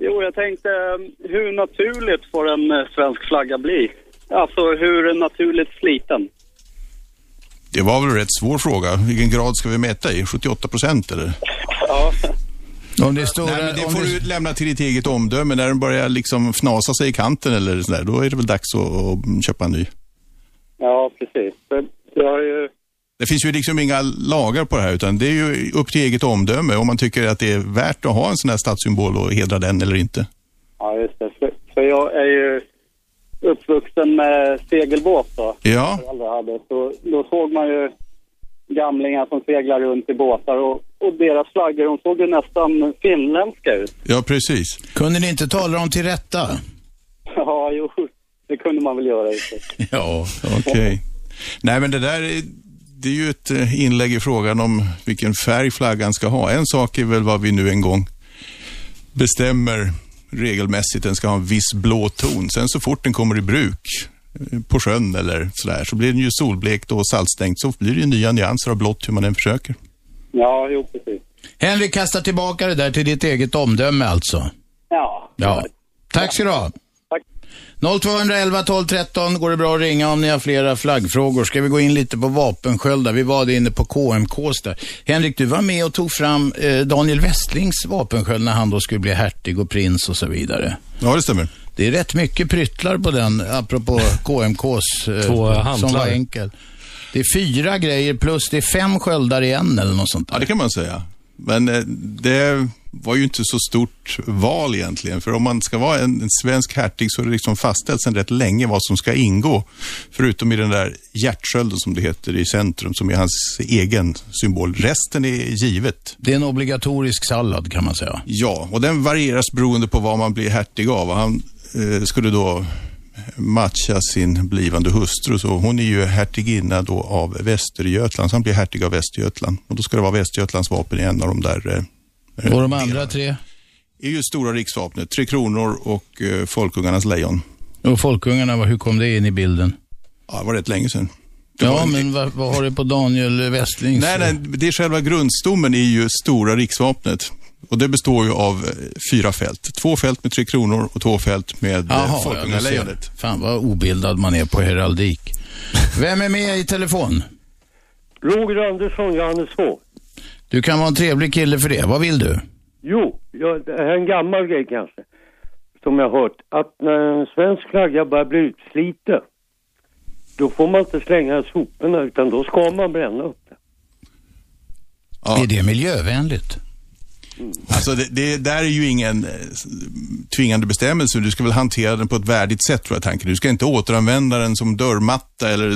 Jo, jag tänkte, eh, hur naturligt får en eh, svensk flagga bli? Alltså, hur naturligt sliten? Det var väl en rätt svår fråga. Vilken grad ska vi mäta i? 78 procent eller? Ja. Om det är stora... Nej, men det får du lämna till ditt eget omdöme. När den börjar liksom fnasa sig i kanten eller sådär, då är det väl dags att, att köpa en ny. Ja, precis. Det, det har ju... Det finns ju liksom inga lagar på det här utan det är ju upp till eget omdöme om man tycker att det är värt att ha en sån här stadssymbol och hedra den eller inte. Ja, just det. För, för jag är ju uppvuxen med segelbåt då. Ja. Föräldrar hade. Så, då såg man ju gamlingar som seglar runt i båtar och, och deras flaggor, de såg ju nästan finländska ut. Ja, precis. Kunde ni inte tala dem till rätta? Ja, jo, det kunde man väl göra. i och för sig. Ja, okej. Nej, men det där är, det är ju ett eh, inlägg i frågan om vilken färg flaggan ska ha. En sak är väl vad vi nu en gång bestämmer regelmässigt. Den ska ha en viss blå ton. Sen så fort den kommer i bruk eh, på sjön eller sådär så blir den ju solblekt och saltstänkt. Så blir det ju nya nyanser av blått hur man än försöker. Ja, jo, precis. Henrik kastar tillbaka det där till ditt eget omdöme alltså. Ja. Ja. Tack ska du ha. 0211 12 13 går det bra att ringa om ni har flera flaggfrågor. Ska vi gå in lite på vapensköldar? Vi var det inne på KMKs där. Henrik, du var med och tog fram eh, Daniel Westlings vapensköld när han då skulle bli hertig och prins och så vidare. Ja, det stämmer. Det är rätt mycket pryttlar på den, apropå KMKs. eh, Två Som var hantlar. enkel. Det är fyra grejer plus det är fem sköldar i en eller något sånt där. Ja, det kan man säga. Men eh, det var ju inte så stort val egentligen. För om man ska vara en, en svensk hertig så är det liksom fastställt sedan rätt länge vad som ska ingå. Förutom i den där hjärtskölden som det heter i centrum, som är hans egen symbol. Resten är givet. Det är en obligatorisk sallad kan man säga. Ja, och den varieras beroende på vad man blir hertig av. Och Han eh, skulle då matcha sin blivande hustru. Så hon är ju hertiginna då av Västergötland, så han blir hertig av Västergötland. Och då ska det vara Västergötlands vapen i en av de där eh, Och de andra tre? är ju Stora riksvapnet, Tre Kronor och eh, Folkungarnas Lejon. Och Folkungarna, vad- hur kom det in i bilden? Ja, det var rätt länge sedan. Ja, men vad, vad har du på Daniel Westlings? Nej, nej, det är själva grundstommen är ju Stora riksvapnet. Och det består ju av eh, fyra fält. Två fält med Tre Kronor och två fält med eh, Jaha, Jaha, ja, du Folkungalejonet. ser. Fan vad obildad man är på heraldik. Vem är med i telefon? Roger Andersson, Johanneshov. Du kan vara en trevlig kille för det. Vad vill du? Jo, jag, det här är en gammal grej kanske. Som jag har hört. Att när en svensk flagga börjar bli utsliten. Då får man inte slänga i soporna utan då ska man bränna upp. Är det miljövänligt? Alltså det, det där är ju ingen eh, tvingande bestämmelse. Du ska väl hantera den på ett värdigt sätt tror jag tanken. Du ska inte återanvända den som dörrmatta eller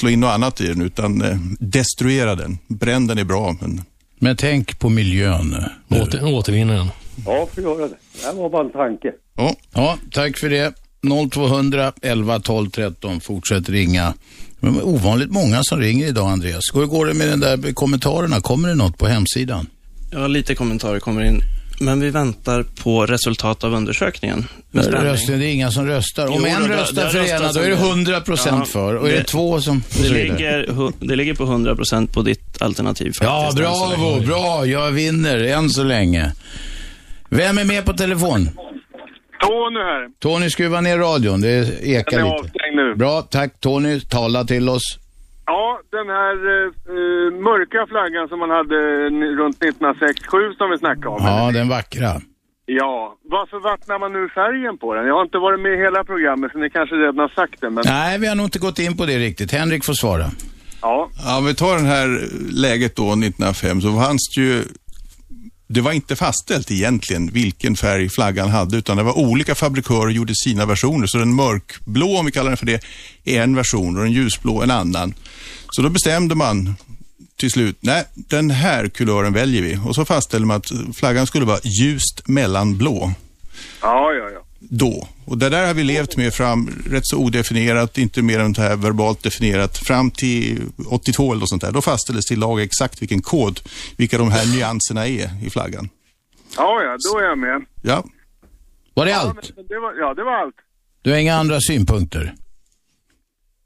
slå in något annat i den utan eh, destruera den. Bränn den är bra men... Men tänk på miljön nu. Åter, återvinner den. Ja, för göra det. Det här var bara en tanke. Ja. tack för det. 0200 11 12 13. Fortsätt ringa. Det är ovanligt många som ringer idag, Andreas. Hur går det med den där kommentarerna? Kommer det något på hemsidan? Ja, lite kommentarer kommer in. Men vi väntar på resultat av undersökningen. Med spänning. Rösten, det är inga som röstar. Om Jo, en då, då- röstar där för det ena, röstas då är det en del. 100 procent Ja, för. Och är det två som... och Det så vidare. ligger, hu- det ligger på 100 procent på ditt alternativ. Ja, faktiskt, än så länge. bravo, bra. Jag vinner än så länge. Vem är med på telefon? Tony här. Tony, skruva ner radion. Det ekar Den är lite. avstängd nu. Bra, tack Tony. Tala till oss. Ja, den här eh, eh, mörka flaggan som man hade n- runt 1967 som vi snackade om. Ja, den vackra. Ja, varför vattnar man nu färgen på den? Jag har inte varit med i hela programmet så ni kanske redan har sagt det, men Nej, vi har nog inte gått in på det riktigt. Henrik får svara. ja. Ja, om vi tar det här läget då 1905 så fanns det ju det var inte fastställt egentligen vilken färg flaggan hade utan det var olika fabrikörer gjorde sina versioner. Så den mörkblå, om vi kallar den för det, är en version och den ljusblå en annan. Så då bestämde man till slut, nej, den här kulören väljer vi. Och så fastställde man att flaggan skulle vara ljust mellanblå Ja, ja, ja. då. Och det där har vi levt med fram, rätt så odefinierat, inte mer än det här verbalt definierat, fram till 82 eller något sånt där. Då fastställdes till lag exakt vilken kod, vilka de här nyanserna är i flaggan. Ja, ja, då är jag med. Ja. Var det Ja, men det var, ja, det var allt. Du har inga andra synpunkter?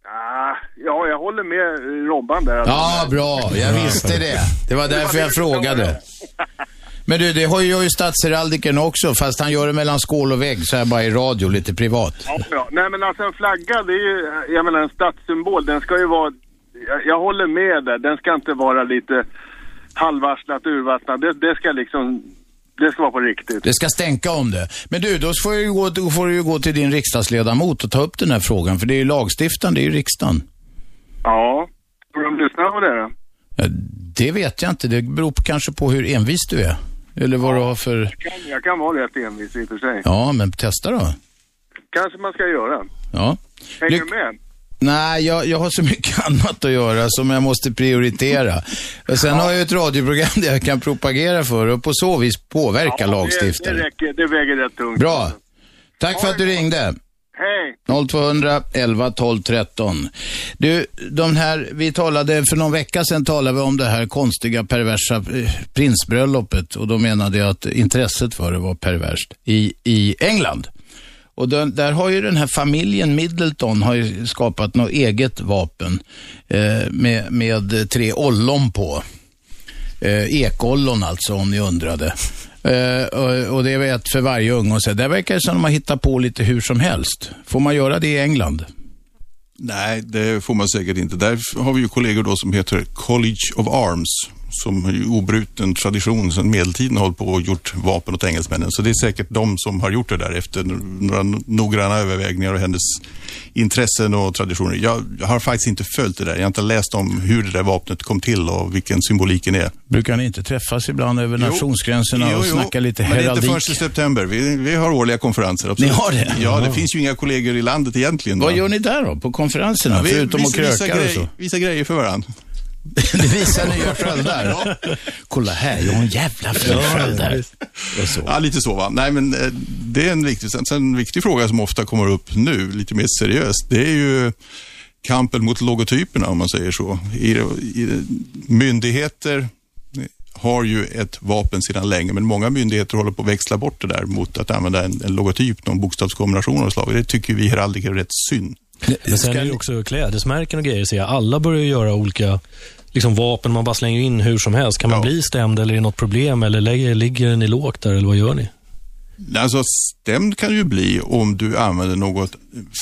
Ah, ja, jag håller med eh, Robban där. Ja, bra. Jag Ja, visste tack. det. Det var därför jag frågade. Men du, det har ju- gör ju statsheraldikern också, fast han gör det mellan skål och vägg så här bara i radio, lite privat. Ja, ja. Nej, men alltså en flagga, det är ju, jag menar en statssymbol, den ska ju vara, jag, jag håller med där, den ska inte vara lite halvvarslat, urvattnad. Det, det ska liksom, det ska vara på riktigt. Det ska stänka om det. Men du, då får, jag ju gå, då får du ju gå till din riksdagsledamot och ta upp den här frågan, för det är ju lagstiftaren, det är ju riksdagen. Ja, får de lyssna på det då? Det vet jag inte, det beror på- kanske på hur envis du är. Eller vad du har för... Jag kan, jag kan vara rätt envis i och för sig. Ja, men testa då. Kanske man ska göra. Ja. Hänger du med? Nej, jag, jag har så mycket annat att göra som jag måste prioritera. Och sen har jag ju ett radioprogram där jag kan propagera för och på så vis påverka lagstiftaren. Det, det räcker, det väger rätt tungt. Bra. Tack för att du ringde. Hej. 0200 11 12 13. Du, de här, vi talade, för någon vecka sedan talade vi om det här konstiga perversa eh, prinsbröllopet och då menade jag att intresset för det var perverst i, i England. Och den, där har ju den här familjen Middleton har ju skapat något eget vapen eh, med, med tre ollon på. Eh, ekollon alltså, om ni undrade. Eh, och, och det är ett för varje unge. Och så. Där verkar det som de har hittat på lite hur som helst. Får man göra det i England? Nej, det får man säkert inte. Där har vi ju kollegor då som heter College of Arms som har ju obruten tradition sedan medeltiden har hållit på och gjort vapen åt engelsmännen. Så det är säkert de som har gjort det där efter några noggranna övervägningar och hennes intressen och traditioner. Jag har faktiskt inte följt det där. Jag har inte läst om hur det där vapnet kom till och vilken symboliken är. Brukar ni inte träffas ibland över Jo. nationsgränserna och snacka lite men det är inte heraldik? först i september. Vi, vi har årliga konferenser. Absolut. Ni har det? Ja, det Ja. finns ju inga kollegor i landet egentligen. Vad va? gör ni där då, på konferenserna? Ja, vi- förutom att vissa- vissa kröka och grejer- så? Vissa grejer för varandra. Det visar nya sköldar. Kolla här, jag har en jävla fin sköld här. Ja, lite så va. Nej, men eh, det är en viktig, sen, sen en viktig fråga som ofta kommer upp nu, lite mer seriöst. Det är ju kampen mot logotyperna om man säger så. I, i, myndigheter har ju ett vapen sedan länge, men många myndigheter håller på att växla bort det där mot att använda en, en logotyp, någon bokstavskombination av slag. Det tycker vi heraldiker är rätt synd. Men sen är det ju också klädesmärken och grejer. Ser jag. Alla börjar göra olika liksom, vapen. Man bara slänger in hur som helst. Kan man bli stämd eller är det något problem? Eller lägger, ligger ni lågt där eller vad gör ni? Alltså, stämd kan ju bli om du använder något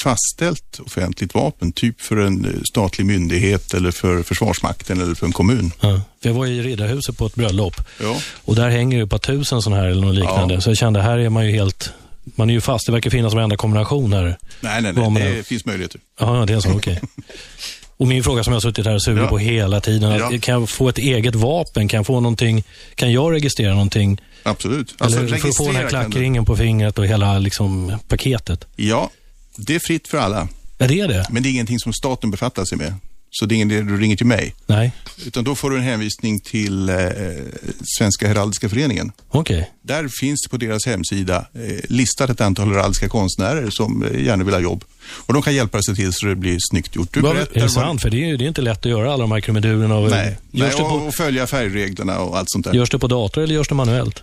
fastställt offentligt vapen, typ för en eh, statlig myndighet eller för Försvarsmakten eller för en kommun. Ja. För jag var i Riddarhuset på ett bröllop Ja. och där hänger ju ett par tusen sådana här eller något liknande. Så jag kände, här är man ju helt... Man är ju fast. Det verkar finnas varenda kombination här. Nej, nej, Vad man nej. än- Det finns möjligheter. Ja, ja, det är en sån, okej. Och min fråga som jag har suttit här och surit Ja. på hela tiden. att Ja. Kan jag få ett eget vapen? Kan jag få någonting? Kan jag registrera någonting? Absolut. Eller Alltså, för att få den här registrera kan du. klackringen på fingret och hela liksom, paketet. Ja, det är fritt för alla. Ja, det är det. Men det är ingenting som staten befattar sig med. Så det är ingen idé du ringer till mig. Nej, Utan då får du en hänvisning till eh, Svenska Heraldiska Föreningen. okej. Där finns på deras hemsida eh, listat ett antal heraldiska konstnärer som eh, gärna vill ha jobb. Och de kan hjälpa sig till så det blir snyggt gjort. Du berättar är det vad- sant? För det är, ju- det är inte lätt att göra alla de här krumadurerna. Och, Nej, nej görs, det och, på, och följa färgreglerna och allt sånt där. görs det på dator eller görs det manuellt?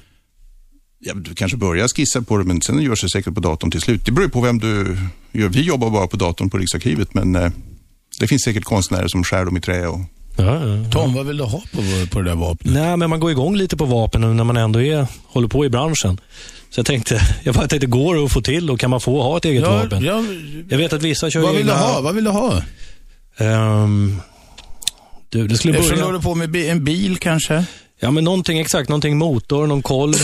Ja, du kanske börjar skissa på det, men sen görs det säkert på datorn till slut. Det beror ju på vem du gör. Vi jobbar bara på datorn på Riksarkivet, men eh, det finns säkert konstnärer som skär dem i trä. Och... Tom, vad vill du ha på, på det där vapnet? Nej, men man går igång lite på vapen nu när man ändå är, håller på i branschen. Så jag tänkte, jag bara tänkte, går det att få till och kan man få ha ett eget Ja, vapen? ja. jag vet att vissa kör Vad vill egna... du ha? Vad vill du ha? Ehm, du, det skulle Eftersom börja... du håller på med bi- en bil kanske? Ja, men någonting exakt. Någonting motor, någon kolv.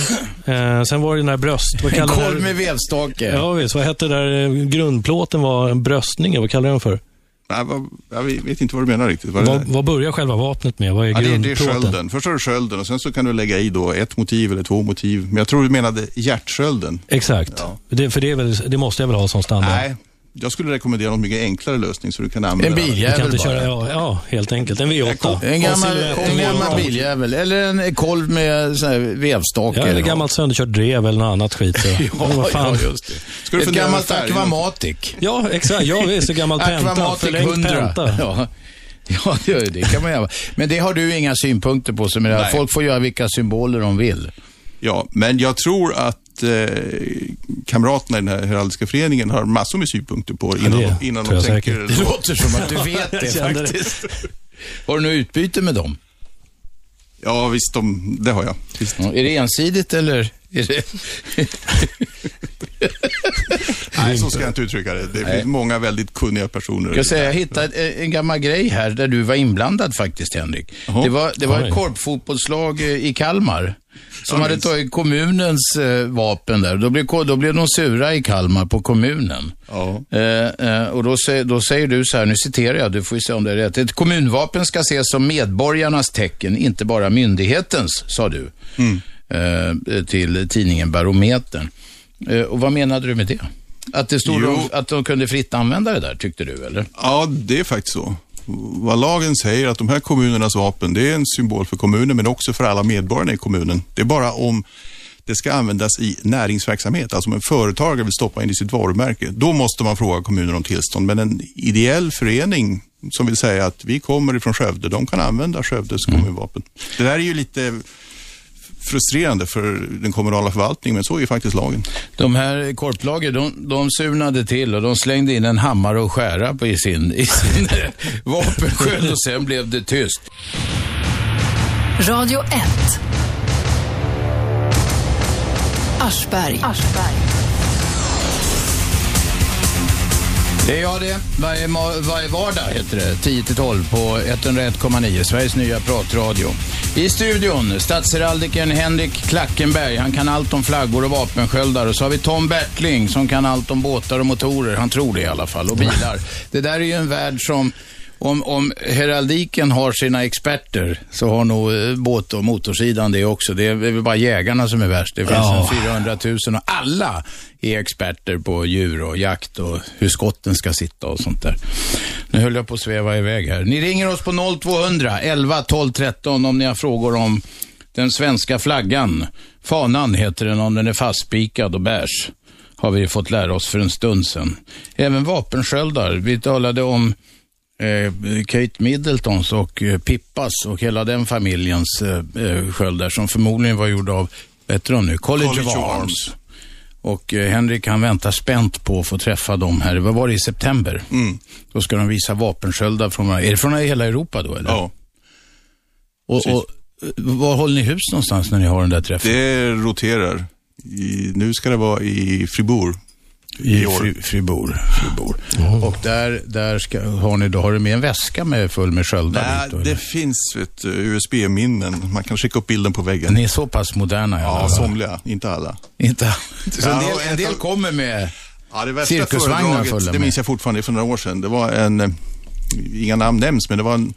eh, sen var det den där bröst... Vad En kallar kolv det- med vevstake. Ja, visst. Vad hette det där eh, grundplåten var? En bröstning, vad kallar jag den för? Nej, vad, jag vet inte vad du menar riktigt. Vad är det Vad, där? vad börjar själva vapnet med? Vad är Ja, det, är- det är grundplåten? skölden. Först har du skölden och sen så kan du lägga i då ett motiv eller två motiv. Men jag tror du menade hjärtskölden. Exakt. Det, för det, är väl, det måste jag väl ha som standard? Nej, jag skulle rekommendera någon mycket enklare lösning så du kan använda den. Du kan inte köra, ja, ja, helt enkelt. En V8. En gammal, en gammal biljävel. Eller en kolv med sån här vevstake. Ja, eller gammalt söderkört drev eller något annat skit. Så. Men vad fan. ja, just det. Ska du Ett fundera gammalt på färgen? Aquamatic. Ja, exakt. Ja, visst. En gammal Penta, Aquamatic förlängd 100. Penta. Ja. Ja, det, det kan man göra. Men det har du inga synpunkter på, som är det här. Nej. Folk får göra vilka symboler de vill. Ja, men jag tror att eh, kamraterna i den här heraldiska föreningen har massor med synpunkter på det innan, det de, innan tror de jag tänker. säkert. Det låter som att du vet det, Jag kände det. faktiskt. Har du något utbyte med dem? Ja, visst, de, det har jag. Ja, Är det ensidigt eller? Är det... Nej, så ska jag inte uttrycka det. Det Nej. finns många väldigt kunniga personer. Jag, ska säga, jag hittade en- en gammal grej här där du var inblandad faktiskt, Henrik. Det var, det var Oj. ett korpfotbollslag eh, i Kalmar som Jag hade minns. tagit kommunens eh, vapen där. Då blev, ko- då blev de sura i Kalmar på kommunen. Eh, eh, och då, sä- då säger du så här, nu citerar jag, du får ju se om det är rätt. Ett kommunvapen ska ses som medborgarnas tecken, inte bara myndighetens, sa du. Eh, till tidningen Barometern. Eh, och vad menade du med det? Att det stod Jo. att de kunde fritt använda det där, tyckte du, eller? Ja, det är faktiskt så. Vad lagen säger att de här kommunernas vapen, det är en symbol för kommunen men också för alla medborgarna i kommunen. Det är bara om det ska användas i näringsverksamhet, alltså om en företagare vill stoppa in i sitt varumärke, då måste man fråga kommunen om tillstånd. Men en ideell förening som vill säga att vi kommer ifrån Skövde, de kan använda Skövdes Mm. kommunvapen. Det där är ju lite frustrerande för den kommunala förvaltningen, men så är ju faktiskt lagen. De här korplagen, de, de surnade till och de slängde in en hammare och skära på i sin, i sin vapensköld och sen blev det tyst. Radio 1. Aschberg. Det är jag det. Varje, ma- varje vardag heter det. 10-12 på 101,9. Sveriges nya pratradio. I studion, statsheraldikern Henrik Klackenberg. Han kan allt om flaggor och vapensköldar. Och så har vi Tom Bertling som kan allt om båtar och motorer. Han tror det i alla fall. Och bilar. Det där är ju en värld som om, om heraldiken har sina experter så har nog eh, båt och motorsidan det också. Det är väl bara jägarna som är värst. Det finns Ja. en 400 000 och alla är experter på djur och jakt och hur skotten ska sitta och sånt där. Nu höll jag på att sväva iväg här. Ni ringer oss på 0200 11 12 13 om ni har frågor om den svenska flaggan. Fanan heter den om den är fastspikad och bärs. Har vi fått lära oss för en stund sedan. Även vapensköldar. Vi talade om eh, Kate Middletons och eh, Pippas och hela den familjens eh, eh, sköldar som förmodligen var gjorda av, vad heter de nu, College, College of of Arms. Och eh, Henrik han väntar spänt på att få träffa dem här, vad var det, i september? Då ska de visa vapensköldar från, är det från hela Europa då eller? Ja. Och, och eh, var håller ni hus någonstans när ni har den där träffen? Det roterar. I, nu ska det vara i Fribourg. I Fri- Fribourg. Fribourg. Och där, där ska, har ni, då har du med en väska med, full med sköldar? Nej, dit då, eller? det finns vet du, USB-minnen. Man kan skicka upp bilden på väggen. Ni är så pass moderna i Ja, alla fall. somliga. Inte alla. Inte Så en Ja, del, och en del kommer med Ja, det värsta cirkusvagnar föredraget, fulla det med. minns jag fortfarande för några år sedan. Det var en, eh, inga namn nämns, men det var en,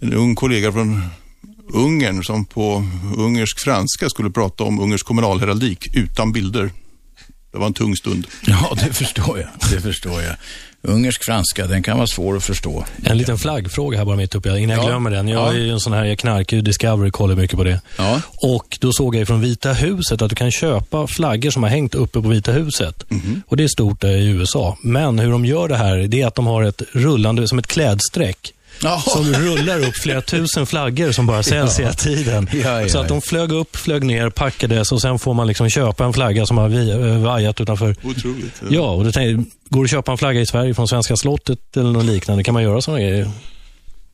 en ung kollega från Ungern som på ungersk franska skulle prata om ungersk kommunalheraldik utan bilder. Det var en tung stund. Ja, det förstår jag. Det förstår jag. Ungersk franska, den kan vara svår att förstå. En liten flaggfråga här bara mitt uppe, innan jag Ja. glömmer den. Jag Ja. är ju en sån här, jag knarkar ju Discovery, kollar mycket på det. Och då såg jag ju från Vita huset att du kan köpa flaggor som har hängt uppe på Vita huset. Och det är stort där i USA. Men hur de gör det här, det är att de har ett rullande, som ett klädstreck. Som rullar upp flera tusen flaggor som bara säljs Ja. hela tiden. Ja, ja, så att de ja. flög upp, flög ner, packades och sen får man liksom köpa en flagga som har vi- eh, vajat utanför Otroligt. Ja, och då tänkte, jag, går det att köpa en flagga i Sverige från Svenska slottet eller något liknande? Kan man göra sådana grejer?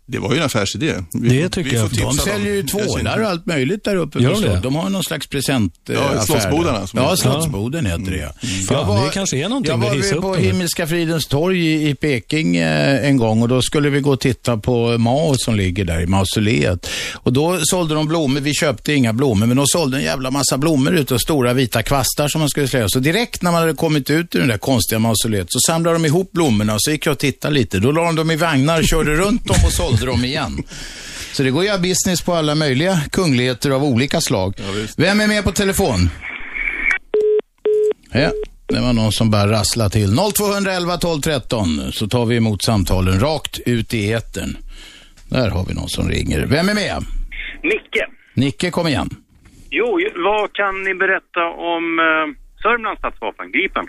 Det var ju en affärsidé. Det tycker jag. De säljer ju tvålar och allt möjligt där uppe. Gör på de slott. det? De har någon slags presentaffär. Ja, där. Slottsbodarna som Ja, heter. Slottsboden heter det. ja. Fan, Mm. det kanske är någonting jag med var att hissa vid- upp på dem. Himmelska fridens torg i, i Peking eh, en gång och då skulle vi gå och titta på Mao som ligger där i mausoleet. Och då sålde de blommor, vi köpte inga blommor, men de sålde en jävla massa blommor ute och stora vita kvastar som man skulle slöja. Så direkt när man hade kommit ut ur det där konstiga mausoleet så samlade de ihop blommorna och så gick jag och tittade lite. Då la de dem i vagnar, körde runt dem och sålde dem igen. Så det går ju att göra business på alla möjliga kungligheter av olika slag. Vem är med på telefon? Ja, det var någon som bara rasslade till. 0211 12 13 så tar vi emot samtalen rakt ut i etern. Där har vi någon som ringer. Vem är med? Micke, Nicke, kom igen. jo, vad kan ni berätta om eh, Sörmlands stadsvapen, Gripen?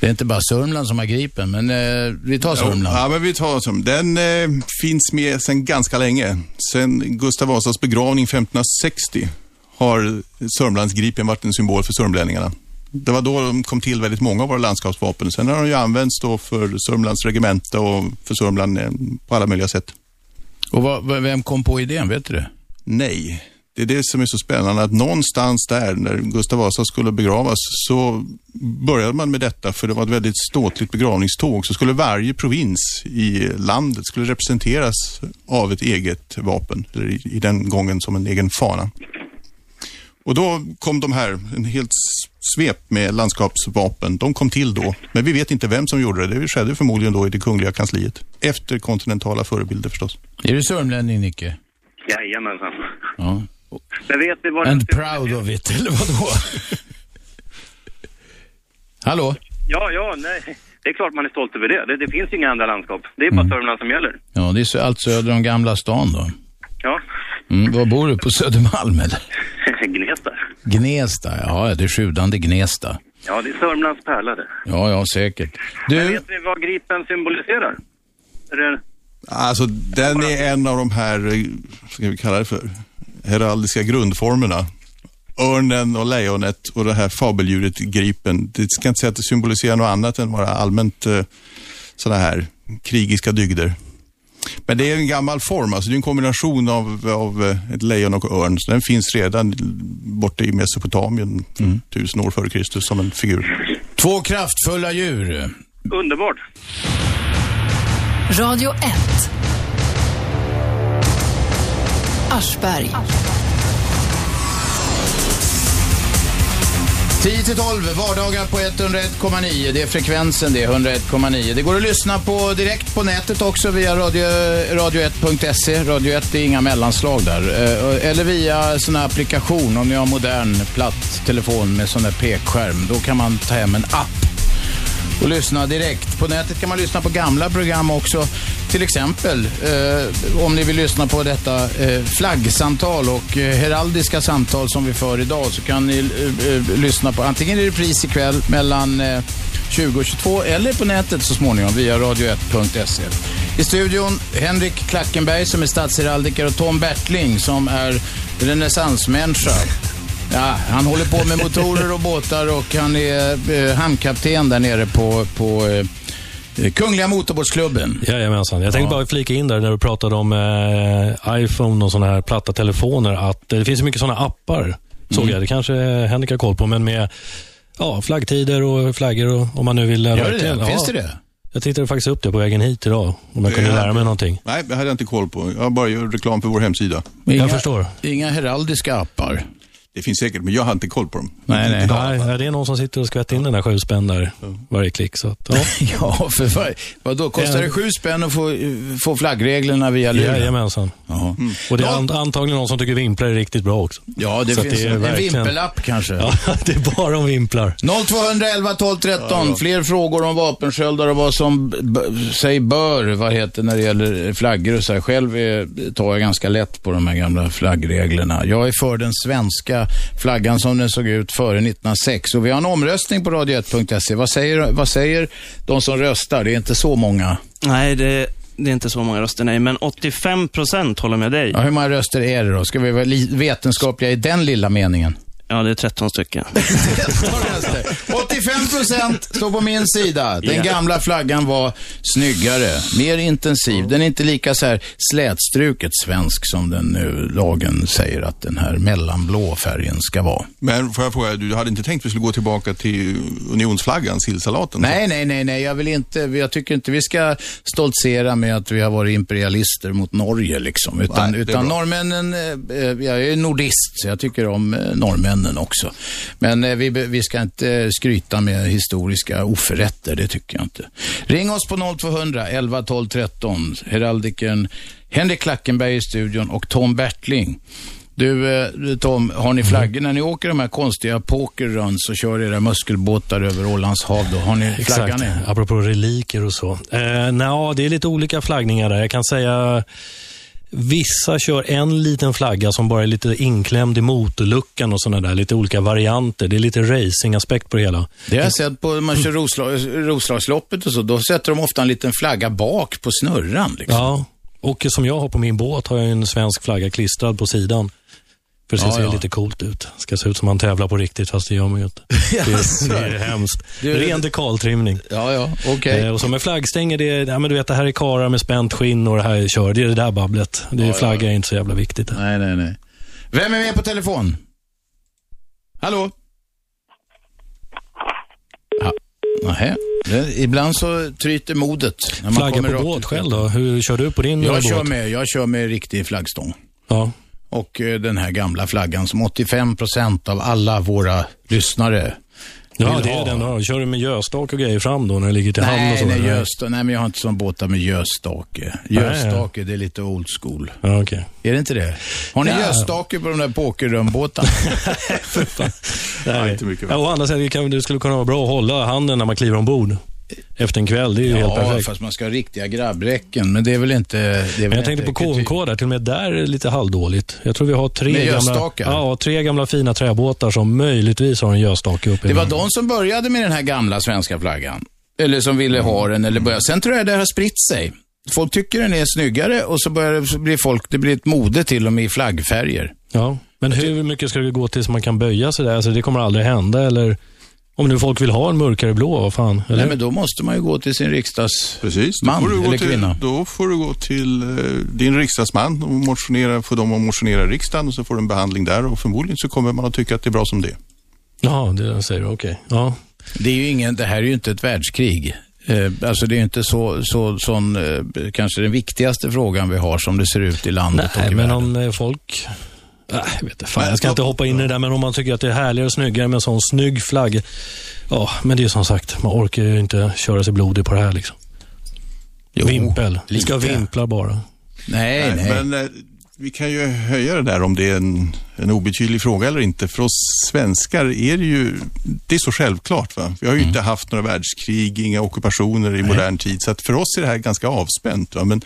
Det är inte bara Sörmland som har Gripen, men eh, vi tar Sörmland. Ja, men vi tar Sörmland. Den eh, finns med sedan ganska länge. Sedan Gustav Vasas begravning 1560 har Sörmlandsgripen varit en symbol för sörmlänningarna. Det var då de kom till väldigt många av våra landskapsvapen. Sen har de ju använts då för Sörmlands regemente och för Sörmland eh, på alla möjliga sätt. Och vem kom på idén, vet du det? Nej, det är det som är så spännande att någonstans där när Gustav Vasa skulle begravas så började man med detta för det var ett väldigt ståtligt begravningståg så skulle varje provins i landet skulle representeras av ett eget vapen, eller i, i den gången som en egen fana. Och då kom de här, en helt s- svep med landskapsvapen, de kom till då. Men vi vet inte vem som gjorde det, det skedde förmodligen då i det kungliga kansliet. Efter kontinentala förebilder förstås. Är du sörmlänning, Nicke? Jajamensan. Ja. Men vet ni vad... And proud of it, eller vadå? Hallå? Ja, ja, nej. Det är klart man är stolt över det. Det, det finns inga andra landskap. Det är bara Sörmland som gäller. Ja, det är så- allt söder om Gamla stan då. Ja, Mm, var bor du? På Södermalm, eller? Gnesta. Gnesta, ja, det är sjudande Gnesta. Ja, det är Sörmlands pärla det. Ja, ja, säkert. Du... Men vet ni vad Gripen symboliserar? Är det... Alltså, den är en av de här, eh, vad ska vi kalla det för, heraldiska grundformerna. Örnen och lejonet och det här fabeldjuret gripen. Det ska inte säga att det symboliserar något annat än bara allmänt eh, sådana här krigiska dygder. Men det är en gammal form, alltså det är en kombination av, av eh, ett lejon och örn. Så den finns redan borta i Mesopotamien tusen år före Kristus som en figur. Två kraftfulla djur. Underbart. Radio 1. Aschberg. 10 till 12, vardagar på 101,9. Det är frekvensen det, 101,9. Det går att lyssna på direkt på nätet också via radio, radio1.se. Radio 1 är inga mellanslag där. Eh, Eller via sån här applikation om ni har modern platt telefon med sån där pekskärm. Då kan man ta hem en app och lyssna direkt. På nätet kan man lyssna på gamla program också. Till exempel eh, om ni vill lyssna på detta eh, flaggsamtal och eh, heraldiska samtal som vi för idag så kan ni eh, eh, lyssna på antingen i repris ikväll mellan eh, 20 och 22 eller på nätet så småningom via radio1.se. I studion Henrik Klackenberg som är statsheraldiker och Tom Bertling som är renässansmänniska. Ja, han håller på med motorer och båtar och han är eh, hamnkapten där nere på, på eh, Kungliga Motorbåtsklubben. Jajamensan. Jag tänkte bara flika in där när du pratade om eh, iPhone och sådana här platta telefoner. Att eh, det finns ju mycket sådana appar, såg jag. Det kanske eh, Henrik har koll på, men med ja, flaggtider och flaggor och, om man nu vill Gör eh, det verkligen- det? Finns ja. det det? Jag tittade faktiskt upp det på vägen hit idag, om jag kunde Eh, lära mig någonting. Nej, det hade jag inte koll på. Jag bara gör reklam för vår hemsida. Jag Inga- förstår. Inga heraldiska appar. Det finns säkert, men jag hade inte koll på dem. nej. nej. Det är någon som sitter och skvätter in den där sju spänn där, varje klick. Så att, ja. ja, för vad, vadå, kostar det sju spänn att få, eh, få flaggreglerna via luren? Jajamensan. Och det är an- antagligen någon som tycker vimplar är riktigt bra också. Ja, det Så att finns är en, en verkligen- vimpelapp kanske. Ja, det är bara om vimplar. 0211 12 13. Fler frågor om vapensköldar och vad som b- b- sig bör, vad heter när det gäller flaggor och så här. Själv är, tar jag ganska lätt på de här gamla flaggreglerna. Jag är för den svenska flaggan som den såg ut före 1906 och vi har en omröstning på radio1.se. E. Vad säger, vad säger de som röstar? Det är inte så många. Nej, det, det är inte så många röster, nej. Men 85 procent håller med dig. Ja, hur många röster är det då? Ska vi vara li- vetenskapliga i den lilla meningen? Ja, det är 13 stycken. 85 procent står på min sida. Den Ja. gamla flaggan var snyggare, mer intensiv. Den är inte lika så här slätstruket svensk som den nu lagen säger att den här mellanblå färgen ska vara. Men får jag fråga, du hade inte tänkt att vi skulle gå tillbaka till unionsflaggan, sillsalaten? Nej, nej, nej, nej, jag vill inte, jag tycker inte vi ska stoltsera med att vi har varit imperialister mot Norge liksom. Utan, Nej, det är utan bra. norrmännen, eh, eh, jag är ju nordist så jag tycker om eh, norrmännen också. Men eh, vi, be- vi ska inte eh, skryta med historiska oförrätter, det tycker jag inte. Ring oss på 0200 11 12 13. Heraldikern Henrik Klackenberg i studion och Tom Bertling. Du eh, Tom, har Mm. ni flaggor när ni åker de här konstiga pokerruns och kör era muskelbåtar över Ålands hav då? Har ni flaggan Exakt, i? apropå reliker och så. Eh, Nja, det är lite olika flaggningar där. Jag kan säga Vissa kör en liten flagga som bara är lite inklämd i motorluckan och sådana där. Lite olika varianter. Det är lite racingaspekt på det hela. Det har jag sett på, man Mm. kör Roslag, Roslagsloppet och så, då sätter de ofta en liten flagga bak på snurran. Liksom. Ja, och som jag har på min båt har jag en svensk flagga klistrad på sidan. För det Ja, ser ja. lite coolt ut. Ska se ut som man tävlar på riktigt, fast det gör man ju inte. Jaså. Det, det är hemskt. Du- Ren dekaltrimning. Ja, ja, okej. Eh, och så med flaggstänger, det, är- ja, men du vet, det här är karar med spänt skinn och det här är kör. Det är det där babblet. Det Ja, är ja. flagga är inte så jävla viktigt. Nej, nej, nej. Vem är med på telefon? Hallå? Ja, nähä. Det- Ibland så tryter modet. när man Flagga kommer på rakt båt ut. själv då? Hur kör du på din Jag båt? kör, med, jag kör med riktig flaggstång. Ja. Och eh, den här gamla flaggan som 85% av alla våra lyssnare Ja, vill det ha. är den. Ja. Kör du med göstak och grejer fram då när det ligger till hamn och Nej, så? nej, eller? gösta, nej, men jag har inte sån båtar med gösstake. Nej. Gösstake, det är lite old school. Ja, okej. Är det inte det? Har ni Ja. gösstake på de där pokerrumbåtarna? Nej. Ja, å andra sidan, det kan- det skulle kunna vara bra att hålla handen när man kliver ombord. Efter en kväll, det är ju helt ja, perfekt. fast man ska ha riktiga grabbräcken, men det är väl inte... Det är Men väl jag tänkte på inte typ- KMK där, till och med där är det lite halvdåligt. Jag tror vi har tre Med gamla, göstakar? ja, tre gamla fina träbåtar som möjligtvis har en göstake uppe i Det var den. de som började med den här gamla svenska flaggan. Eller som ville ha den, eller börja. Sen tror jag det har spritt sig. Folk tycker den är snyggare och så börjar det så blir folk, det blir ett mode till och med i flaggfärger. Ja, men hur mycket ska det gå tills man kan böja sig där? Alltså, det kommer aldrig hända, eller? Om nu folk vill ha en mörkare blå, vad fan? Eller? Nej, men då måste man ju gå till sin riksdags... Precis, då Man får, du gå eller kvinna. till, då får du gå till eh, din riksdagsman och motionera, få dem att motionera i riksdagen och så får du en behandling där och förmodligen så kommer man att tycka att det är bra som det är. Ja, det säger du. Okej. Ja. Det, är ju ingen, det här är ju inte ett världskrig. Eh, alltså det är ju inte så, så, sån, eh, kanske den viktigaste frågan vi har som det ser ut i landet och Nej, i men världen. om eh, folk Äh, jag vet inte, fan, jag ska inte hoppa in i det där, men om man tycker att det är härligare och snyggare med en sån snygg flagg. Ja, men det är som sagt, man orkar ju inte köra sig blodig på det här liksom. Vimpel. Vi ska lite. vimpla bara. Nej, nej. Men eh, vi kan ju höja det där om det är en, en obetydlig fråga eller inte. För oss svenskar är det ju, det är så självklart. Va? Vi har ju inte haft några världskrig, inga ockupationer i modern tid. Så att för oss är det här ganska avspänt. Va? Men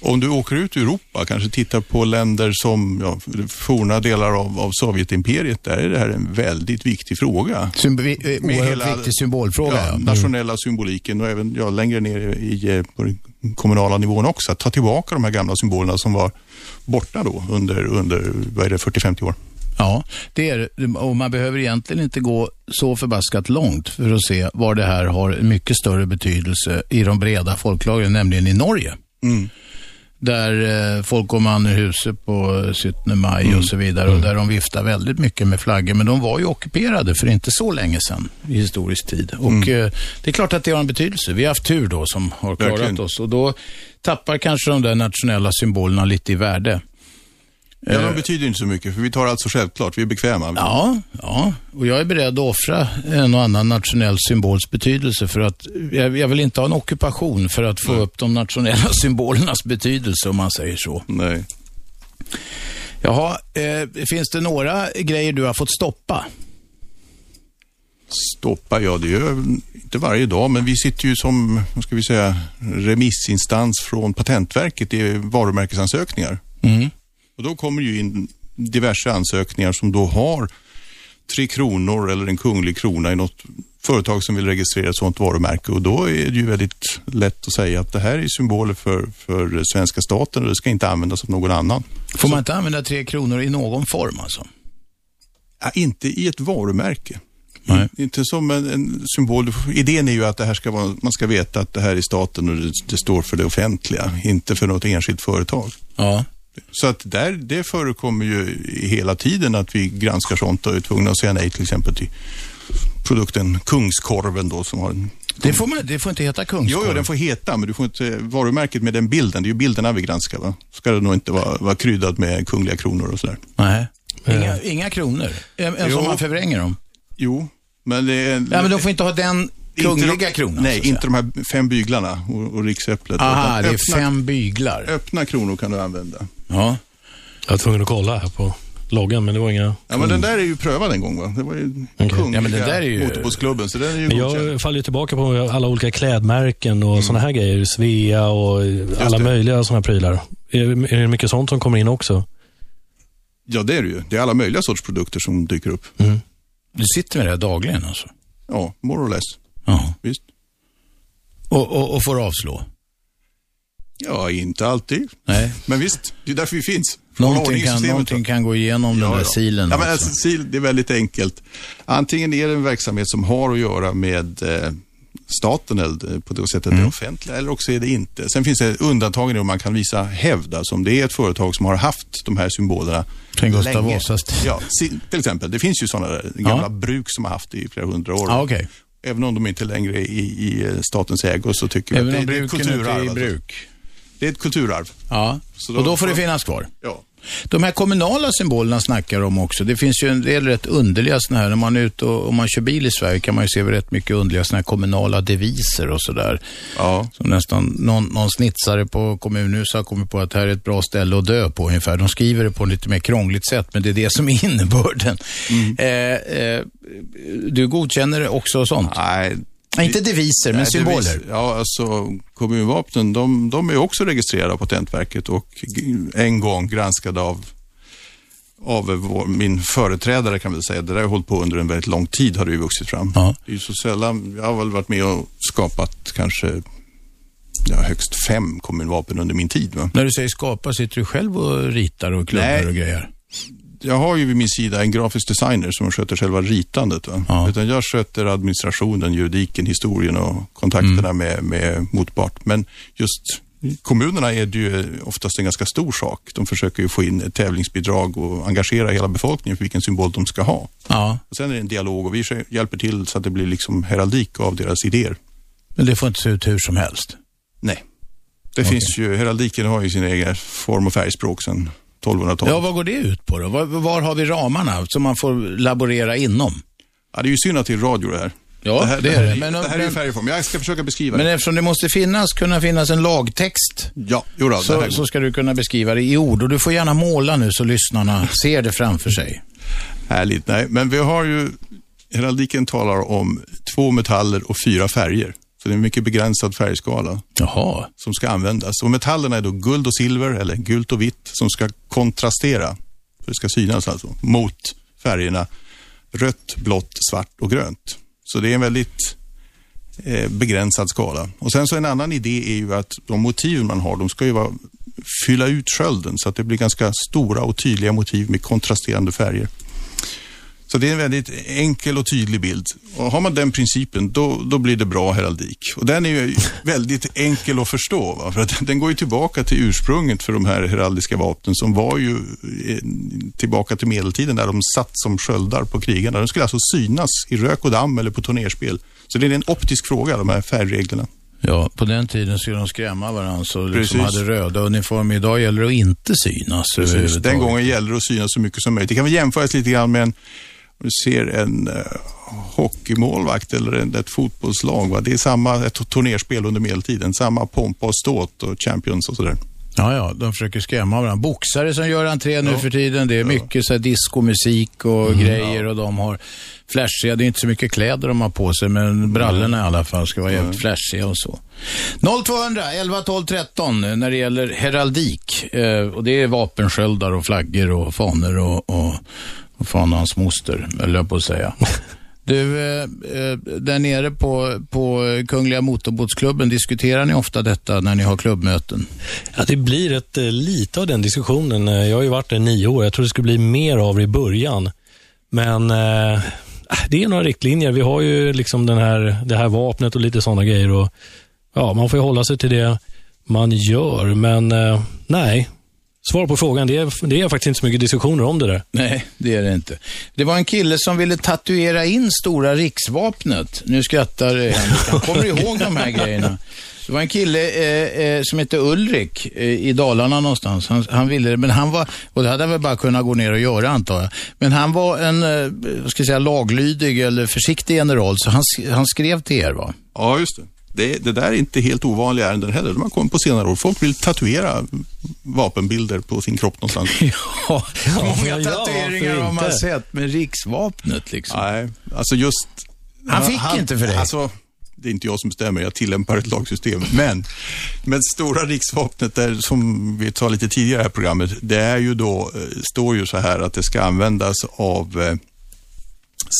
om du åker ut i Europa, kanske tittar på länder som ja, forna delar av, av Sovjetimperiet, där är det här en väldigt viktig fråga. Symbi- eh, Med oerhört hela- viktig symbolfråga. Mm. Ja, nationella symboliken och även ja, längre ner i, eh, på den kommunala nivån också. Att ta tillbaka de här gamla symbolerna som var borta då under, under vad är det, 40-50 år. Ja, det är det. och man behöver egentligen inte gå så förbaskat långt för att se var det här har en mycket större betydelse i de breda folklagren, nämligen i Norge. Mm. Där eh, folk går man ur huset på 17 maj och så vidare och där de viftar väldigt mycket med flaggor. Men de var ju ockuperade för inte så länge sedan i historisk tid. Och eh, det är klart att det har en betydelse. Vi har haft tur då som har klarat Verkligen. oss och då tappar kanske de där nationella symbolerna lite i värde. Ja, Eh. de betyder inte så mycket, för vi tar allt så självklart. Vi är bekväma. Ja, ja, och jag är beredd att offra en och annan nationell symbols betydelse för att jag, jag vill inte ha en ockupation för att få upp de nationella symbolernas betydelse om man säger så. Nej. Jaha, eh, finns det några grejer du har fått stoppa? Stoppa, ja det gör jag inte varje dag, men vi sitter ju som, vad ska vi säga, remissinstans från Patentverket i varumärkesansökningar. Och då kommer ju in diverse ansökningar som då har Tre Kronor eller en kunglig krona i något företag som vill registrera ett sådant varumärke och då är det ju väldigt lätt att säga att det här är symboler för, för svenska staten och det ska inte användas av någon annan. Får man inte använda tre kronor i någon form alltså? Ja, inte i ett varumärke. Inte som en, en symbol. Du får- Idén är ju att det här ska vara, man ska veta att det här är staten och det, det står för det offentliga, inte för något enskilt företag. Ja. Så att där, det förekommer ju i- hela tiden att vi granskar sånt och är tvungna att säga nej till exempel till produkten Kungskorven då som har en... Det får, man, det får inte heta Jo, kungskorv. jo, den får heta, men du får inte varumärket med den bilden. Det är ju bilderna vi granskar. Va? Ska det nog inte vara, vara kryddad med kungliga kronor och sådär. Nej. Inga, inga kronor, Ä- ens om Jo. man förvränger dem. Jo, men det är... Ja, men de får inte ha den kungliga kronan. Nej, inte de här fem byglarna och, och riksäpplet. Aha, Utan det är öppna- fem byglar. Öppna kronor kan du använda. Ja. Jag var tvungen att kolla här på loggan, men det var inga... Mm. Ja, Mm. men den där är ju prövad en gång va? Det var ju kungliga Ja, men den där är ju- motorbåtsklubben, så den är ju Men godkänd. jag faller ju tillbaka på alla olika klädmärken och Mm. såna sådana här grejer. Svea och alla möjliga sådana prylar. Är, är det mycket sånt som kommer in också? Ja, det är det ju. Det är alla möjliga sorts produkter som dyker upp. Mm. Du sitter med det här dagligen alltså? Ja, more or less. Ja. Visst. Och, och, och får avslå? Ja, inte alltid. Nej. Men visst, det är därför vi finns. För att hålla ordning Någonting i kan, systemet, va? någonting kan gå igenom den där silen. Ja, men också. alltså, sil, det är väldigt enkelt. Antingen är det en verksamhet som har att göra med eh, staten eller eh, på det Mm. sättet det offentliga eller också är det inte. Sen finns det undantagen om man kan visa hävd. Alltså om det är ett företag som har haft de här symbolerna Sen Gustav Vasas tid. Ja, si, till exempel. Det finns ju sådana där gamla bruk som har haft det i flera hundra år. Ja, okej. Även om de inte längre är i, i eh, statens ägo så tycker Även vi om att det, är ett bruken inte är i kulturarv. alltså. bruk. Det är ett kulturarv. Ja, Så och då får det finnas kvar. Ja. De här kommunala symbolerna snackar de om också. Det finns ju en del rätt underliga sådana här. När man är ute och om man kör bil i Sverige kan man ju se rätt mycket underliga sådana här kommunala deviser och sådär. Ja. Som nästan någon, någon snitsare på kommunhuset har kommit på att här är ett bra ställe att dö på ungefär. De skriver det på lite mer krångligt sätt, men det är det som är innebörden. Eh, eh, du godkänner också sånt? Nej. Nej, inte deviser, men Nej, symboler. devis- Ja, alltså kommunvapnen, de, de är också registrerade av Patentverket och g- en gång granskade av, av vår, min företrädare kan vi säga. Det där har jag hållit på under en väldigt lång tid har det ju vuxit fram. Det är ju så sällan, jag har väl varit med och skapat kanske ja, högst fem kommunvapen under min tid. Va? När du säger skapa, sitter du själv och ritar och klubbar Nej. och grejer? jag har ju vid min sida en grafisk designer som sköter själva ritandet. Va? Utan jag sköter administrationen, juridiken, historien och kontakterna Mm. med, med motpart. Men just kommunerna är det ju oftast en ganska stor sak. De försöker ju få in ett tävlingsbidrag och engagera hela befolkningen för vilken symbol de ska ha. Ja. Och sen är det en dialog och vi hjälper till så att det blir liksom heraldik av deras idéer. Men det får inte se ut hur som helst? Nej. Det finns ju, heraldiken har ju sin egen form och färgspråk sen 1200-talet. Ja, vad går det ut på då? Var, var har vi ramarna som man får laborera inom? Ja, det är ju synd att det är radio det här. Ja, det här, det det är här, det. är- Men- det här är ju men- färgform. Jag ska försöka beskriva Men det. eftersom det måste finnas, kunna finnas en lagtext. Ja, jo då, det här så, går. så ska du kunna beskriva det i ord. Och du får gärna måla nu så lyssnarna ser det framför sig. Härligt. Nej, men vi har ju, heraldiken talar om två metaller och fyra färger. Så det är en mycket begränsad färgskala Jaha. som ska användas. Och metallerna är då guld och silver, eller gult och vitt, som ska kontrastera, för det ska synas alltså, mot färgerna rött, blått, svart och grönt. Så det är en väldigt eh, begränsad skala. Och sen så en annan idé är ju att de motiv man har, de ska ju vara, fylla ut skölden så att det blir ganska stora och tydliga motiv med kontrasterande färger. Så det är en väldigt enkel och tydlig bild. Och har man den principen, då, då blir det bra heraldik. Och den är ju väldigt enkel att förstå. Va? För att den går ju tillbaka till ursprunget för de här heraldiska vapnen som var ju eh, tillbaka till medeltiden där de satt som sköldar på krigarna. De skulle alltså synas i rök och damm eller på turnerspel. Så det är en optisk fråga, de här färgreglerna. Ja, på den tiden skulle de skrämma varandra så liksom Precis. hade röda uniformer. Idag gäller det att inte synas Precis. överhuvudtaget. Den gången gäller det att synas så mycket som möjligt. Det kan väl jämföras lite grann med en, om du ser en eh, hockeymålvakt eller en, ett fotbollslag. Va? Det är samma ett turnerspel under medeltiden, samma pompa och ståt och champions och sådär. Ja, ja, de försöker skrämma varandra. Boxare som gör entré nu för tiden, det är mycket så här diskomusik och Mm, grejer och de har flashiga, det är inte så mycket kläder de har på sig, men brallorna i alla fall ska vara jävligt flashiga och så. 0200 11 12 13 eh, när det gäller heraldik. Eh, och det är vapensköldar och flaggor och fanor och, och, och fan och hans moster, höll jag på att säga. Du, eh, eh, där nere på, på Kungliga Motorbåtsklubben, diskuterar ni ofta detta när ni har klubbmöten? Ja, det blir ett, eh, lite av den diskussionen. Eh, Jag har ju varit där i nio år. Jag tror det skulle bli mer av det i början. Men eh, det är några riktlinjer. Vi har ju liksom den här, det här vapnet och lite sådana grejer. Och, ja, man får ju hålla sig till det man gör, men eh, nej. Svar på frågan, det är, det är faktiskt inte så mycket diskussioner om det där. Nej, det är det inte. Det var en kille som ville tatuera in stora riksvapnet. Nu skrattar eh, Henrik. Han kommer ihåg de här grejerna. Det var en kille eh, eh, som hette Ulrik eh, i Dalarna någonstans. Han, han ville det, men han var, och det hade han väl bara kunnat gå ner och göra antar jag. Men han var en, eh, vad ska jag säga, laglydig eller försiktig general, så han, sk- han skrev till er va? Ja, just det. Det, det där är inte helt ovanliga ärenden heller. De har kommit på senare år. Folk vill tatuera vapenbilder på sin kropp någonstans. ja, ja, många tatueringar tatueringar har har man man sett med riksvapnet liksom. Nej, alltså just... Han fick inte för det. Alltså, det är inte jag som bestämmer, jag tillämpar ett lagsystem. Men, men stora riksvapnet, där, som vi tar lite tidigare i det här programmet, det är ju då, eh, står ju så här att det ska användas av eh,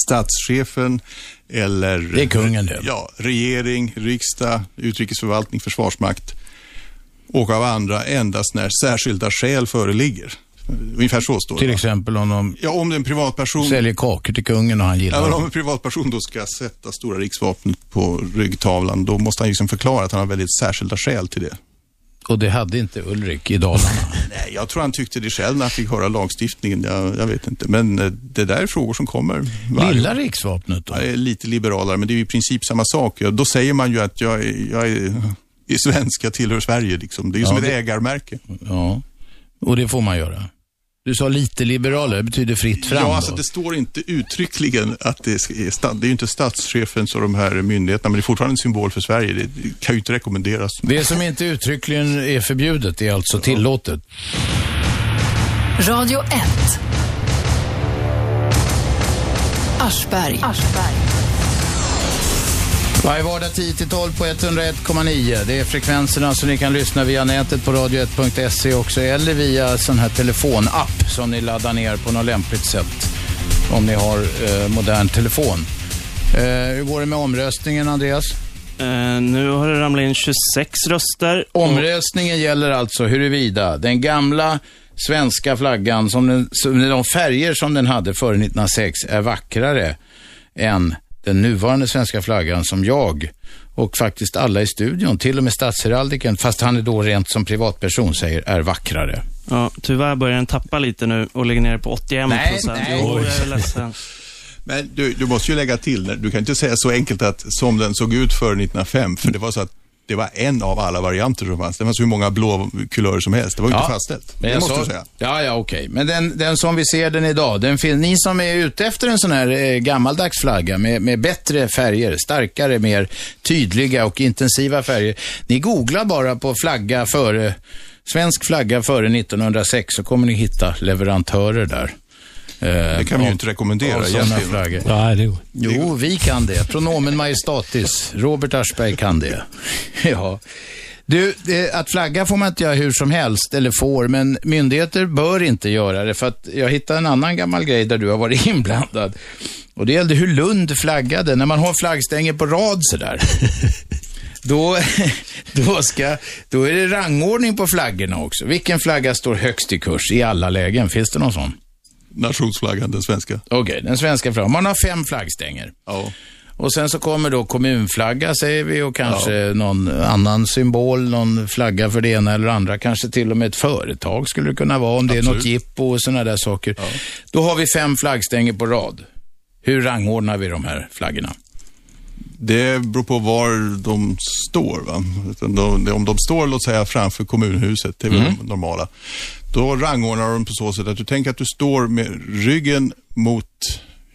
statschefen eller... Det är kungen det. Ja, regering, riksdag, utrikesförvaltning, försvarsmakt och av andra endast när särskilda skäl föreligger. Ungefär så står det. Till exempel om de Ja, om det är en privatperson. säljer kakor till kungen och han gillar Även dem. om en privatperson då ska sätta stora riksvapnet på ryggtavlan, då måste han liksom förklara att han har väldigt särskilda skäl till det. Och det hade inte Ulrik i Dalarna. Nej, jag tror han tyckte det själv när han fick höra lagstiftningen. Jag, jag vet inte. Men eh, det där är frågor som kommer. Lilla riksvapnet då? Jag är lite liberalare, men det är ju i princip samma sak. Ja, Då säger man ju att jag, är- jag är, är svensk, jag tillhör Sverige. Liksom. Det är ju Ja, som ett det- ägarmärke. Ja, och det får man göra. Du sa lite liberaler, det betyder fritt fram Ja, alltså då. det står inte uttryckligen att det är, sta- det är ju inte statschefens och de här myndigheterna, men det är fortfarande en symbol för Sverige. Det kan ju inte rekommenderas. Det som inte uttryckligen är förbjudet är alltså tillåtet. Radio 1. Aschberg. Varje vardag 10-12 på 101,9. Det är frekvenserna som ni kan lyssna via nätet på radio1.se också eller via sån här telefonapp som ni laddar ner på något lämpligt sätt om ni har eh, modern telefon. Eh, hur går det med omröstningen, Andreas? Eh, nu har det ramlat in 26 röster. Omröstningen gäller alltså huruvida den gamla svenska flaggan, som den, som de färger som den hade före 1906, är vackrare än den nuvarande svenska flaggan som jag och faktiskt alla i studion, till och med statsheraldiken, fast han är då rent som privatperson, säger är vackrare. Ja, tyvärr börjar den tappa lite nu och ligger nere på 81 Nej, procent. nej. Jo, Oj. jag är ledsen. Men du, du måste ju lägga till, du kan inte säga så enkelt att som den såg ut före 1905, för det var så att Det var en av alla varianter som fanns. Det fanns hur många blå kulörer som helst. Det var ju inte Ja, fastställt. men Det jag måste sa- du säga. Ja, ja, okej. Men den, den som vi ser den idag, den fin- ni som är ute efter en sån här eh, gammaldags flagga med, med bättre färger, starkare, mer tydliga och intensiva färger. Ni googlar bara på flagga före, svensk flagga före 1906 så kommer ni hitta leverantörer där. Eh, Det kan vi ju inte rekommendera egentligen. Nej, det går. Jo, vi kan det. Pronomen majestatis. Robert Aschberg kan det. ja. Du, eh, att flagga får man inte göra hur som helst, eller får, men myndigheter bör inte göra det. För att jag hittade en annan gammal grej där du har varit inblandad. Och det gällde hur Lund flaggade. När man har flaggstänger på rad sådär. Då, då, ska, då är det rangordning på flaggorna också. Vilken flagga står högst i kurs i alla lägen? Finns det någon sån? Nationsflaggan, den svenska. Okej, den svenska flaggan. Man har fem flaggstänger. Och sen så kommer då kommunflagga, säger vi, och kanske någon annan symbol, någon flagga för det ena eller andra. Kanske till och med ett företag skulle det kunna vara, om det är något jippo och sådana där saker. Då har vi fem flaggstänger på rad. Hur rangordnar vi de här flaggorna? Det beror på var de står. Va? Utan de- Om de står låt säga, framför kommunhuset, det är väl Mm. det normala, då rangordnar de på så sätt att du tänker att du står med ryggen mot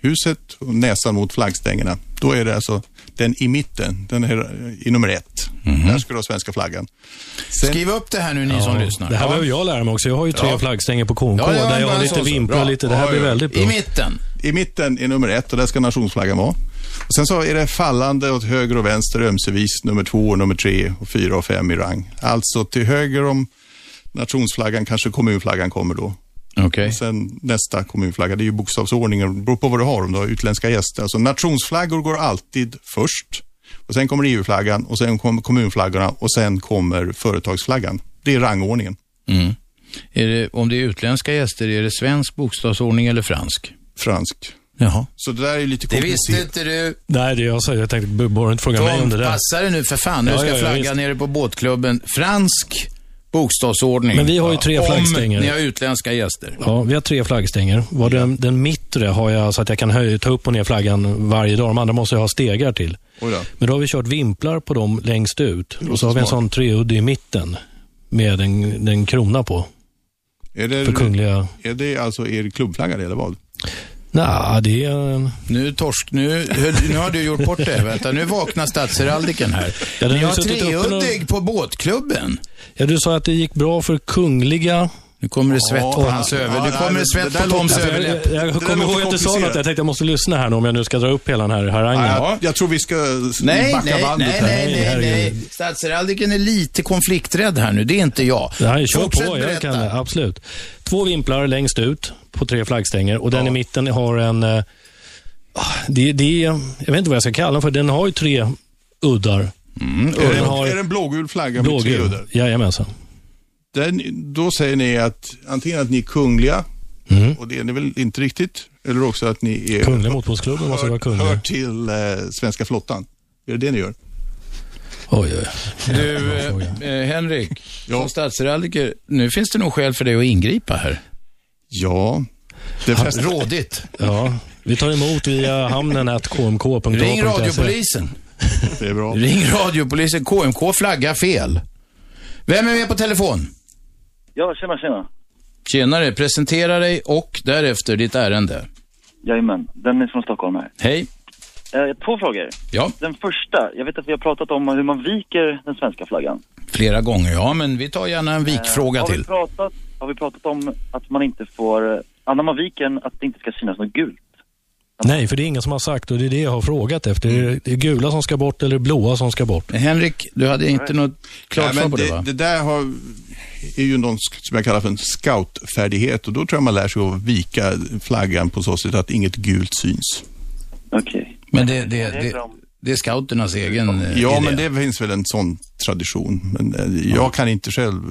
huset och näsan mot flaggstängerna. Då är det alltså den i mitten, den är i nummer ett. Där ska du ha svenska flaggan. Skriv upp det här nu ni Ja, som lyssnar. Det här Ja. behöver jag lära mig också. Jag har ju tre Ja. flaggstänger på KMK Ja, ja, där jag bara lite så, så. vimplar Bra. lite. Det här Ja, blir ja. väldigt bra. mitten? I mitten är nummer ett och där ska nationsflaggan vara. Och sen så är det fallande åt höger och vänster ömsevis nummer två, nummer tre, och fyra och fem i rang. Alltså till höger om nationsflaggan kanske kommunflaggan kommer då. Okej. Och Sen nästa kommunflagga, det är ju bokstavsordningen, det beror på vad du har om du har utländska gäster. Alltså nationsflaggor går alltid först. Och sen kommer EU-flaggan och sen kommer kommunflaggorna och sen kommer företagsflaggan. Det är rangordningen. Mm. Är det, om det är utländska gäster, är det svensk bokstavsordning eller fransk? Fransk. Jaha. Så det där är ju lite Det komplicerat. visste inte du. Nej, det är jag säger. Jag tänkte, b- borde inte fråga mig om det Tom, där. passa dig nu för fan. Nu Ja, ska ja, ja, flaggan visst. nere på båtklubben. Fransk bokstavsordning. Men vi har ju tre om flaggstänger. Om ni har utländska gäster. Ja, vi har tre flaggstänger. Var den, den mittre har jag så att jag kan höja, ta upp och ner flaggan varje dag. De andra måste jag ha stegar till. Oj då. Men då har vi kört vimplar på dem längst ut. Och så har vi en smart. sån treudd i mitten med en, en krona på. Är det, För kungliga- är det alltså er klubbflagga det, eller vad? Nej, det är... en- Nu torsk, nu, nu har du gjort bort det. Vänta, nu vaknar statsheraldiken här. Ja, den ni har har suttit uppe treuddig på båtklubben. Ja, du sa att det gick bra för kungliga... Nu kommer det svett på hans över- nu kommer det svett på Toms överläpp. Jag, jag, Det där jag kommer låter ihåg att du sa något. komplicerat. Jag tänkte jag måste lyssna här nu om jag nu ska dra upp hela den här harangen. Ja, jag tror vi ska Nej, backa nej, bandet nej, här. nej, nej, nej. Statsheraldiken är lite konflikträdd här nu. Det är inte jag. Nej, kör Fortsätt på. berätta. Jag kan, det, absolut. Två vimplar längst ut på tre flaggstänger och den i mitten har en... eh, ah, Det, det, jag vet inte vad jag ska kalla den för. Den har ju tre Mm, uddar. Är, det, den Mm, har är det en blågul flagga med tre blågul. udder? Jajamensan. Den- Då säger ni att antingen att ni är kungliga, och det är ni väl inte riktigt, eller också att ni är... Mm. Kungliga Motorbåtsklubben måste vara kungliga. Hör till eh, svenska flottan. Är det det ni gör? Oj, oj. Du, eh, eh, Henrik, som statsheraldiker, nu finns det nog skäl för dig att ingripa här. Ja. Det flesta- Rådigt. Ja, vi tar emot via hamnen att kmk.se. Ring radiopolisen. Det är bra. Ring radiopolisen. KMK flaggar fel. Vem är med på telefon? Ja, tjena, tjena. Tjenare, presentera dig och därefter ditt ärende. Jajamän, Dennis från Stockholm här. Hej. Eh, två frågor. Ja. Den första, jag vet att vi har pratat om hur man viker den svenska flaggan. Flera gånger, ja, men vi tar gärna en vikfråga Eh, har till. Vi pratat, har vi pratat om att man inte får, eh, när man viker den, att det inte ska synas något gult? Nej, för det är ingen som har sagt och det är det jag har frågat efter. Är det- Det är gula som ska bort eller blåa som ska bort. Henrik, du hade inte något Nej, men Det där har, är ju någon sk- som jag kallar för en scoutfärdighet och då tror jag man lär sig att vika flaggan på så sätt att inget gult syns. Okej. Men det, det, det, det är scouternas egen eh, Ja, idé. men det finns väl en sån tradition. Men eh, jag kan inte själv eh,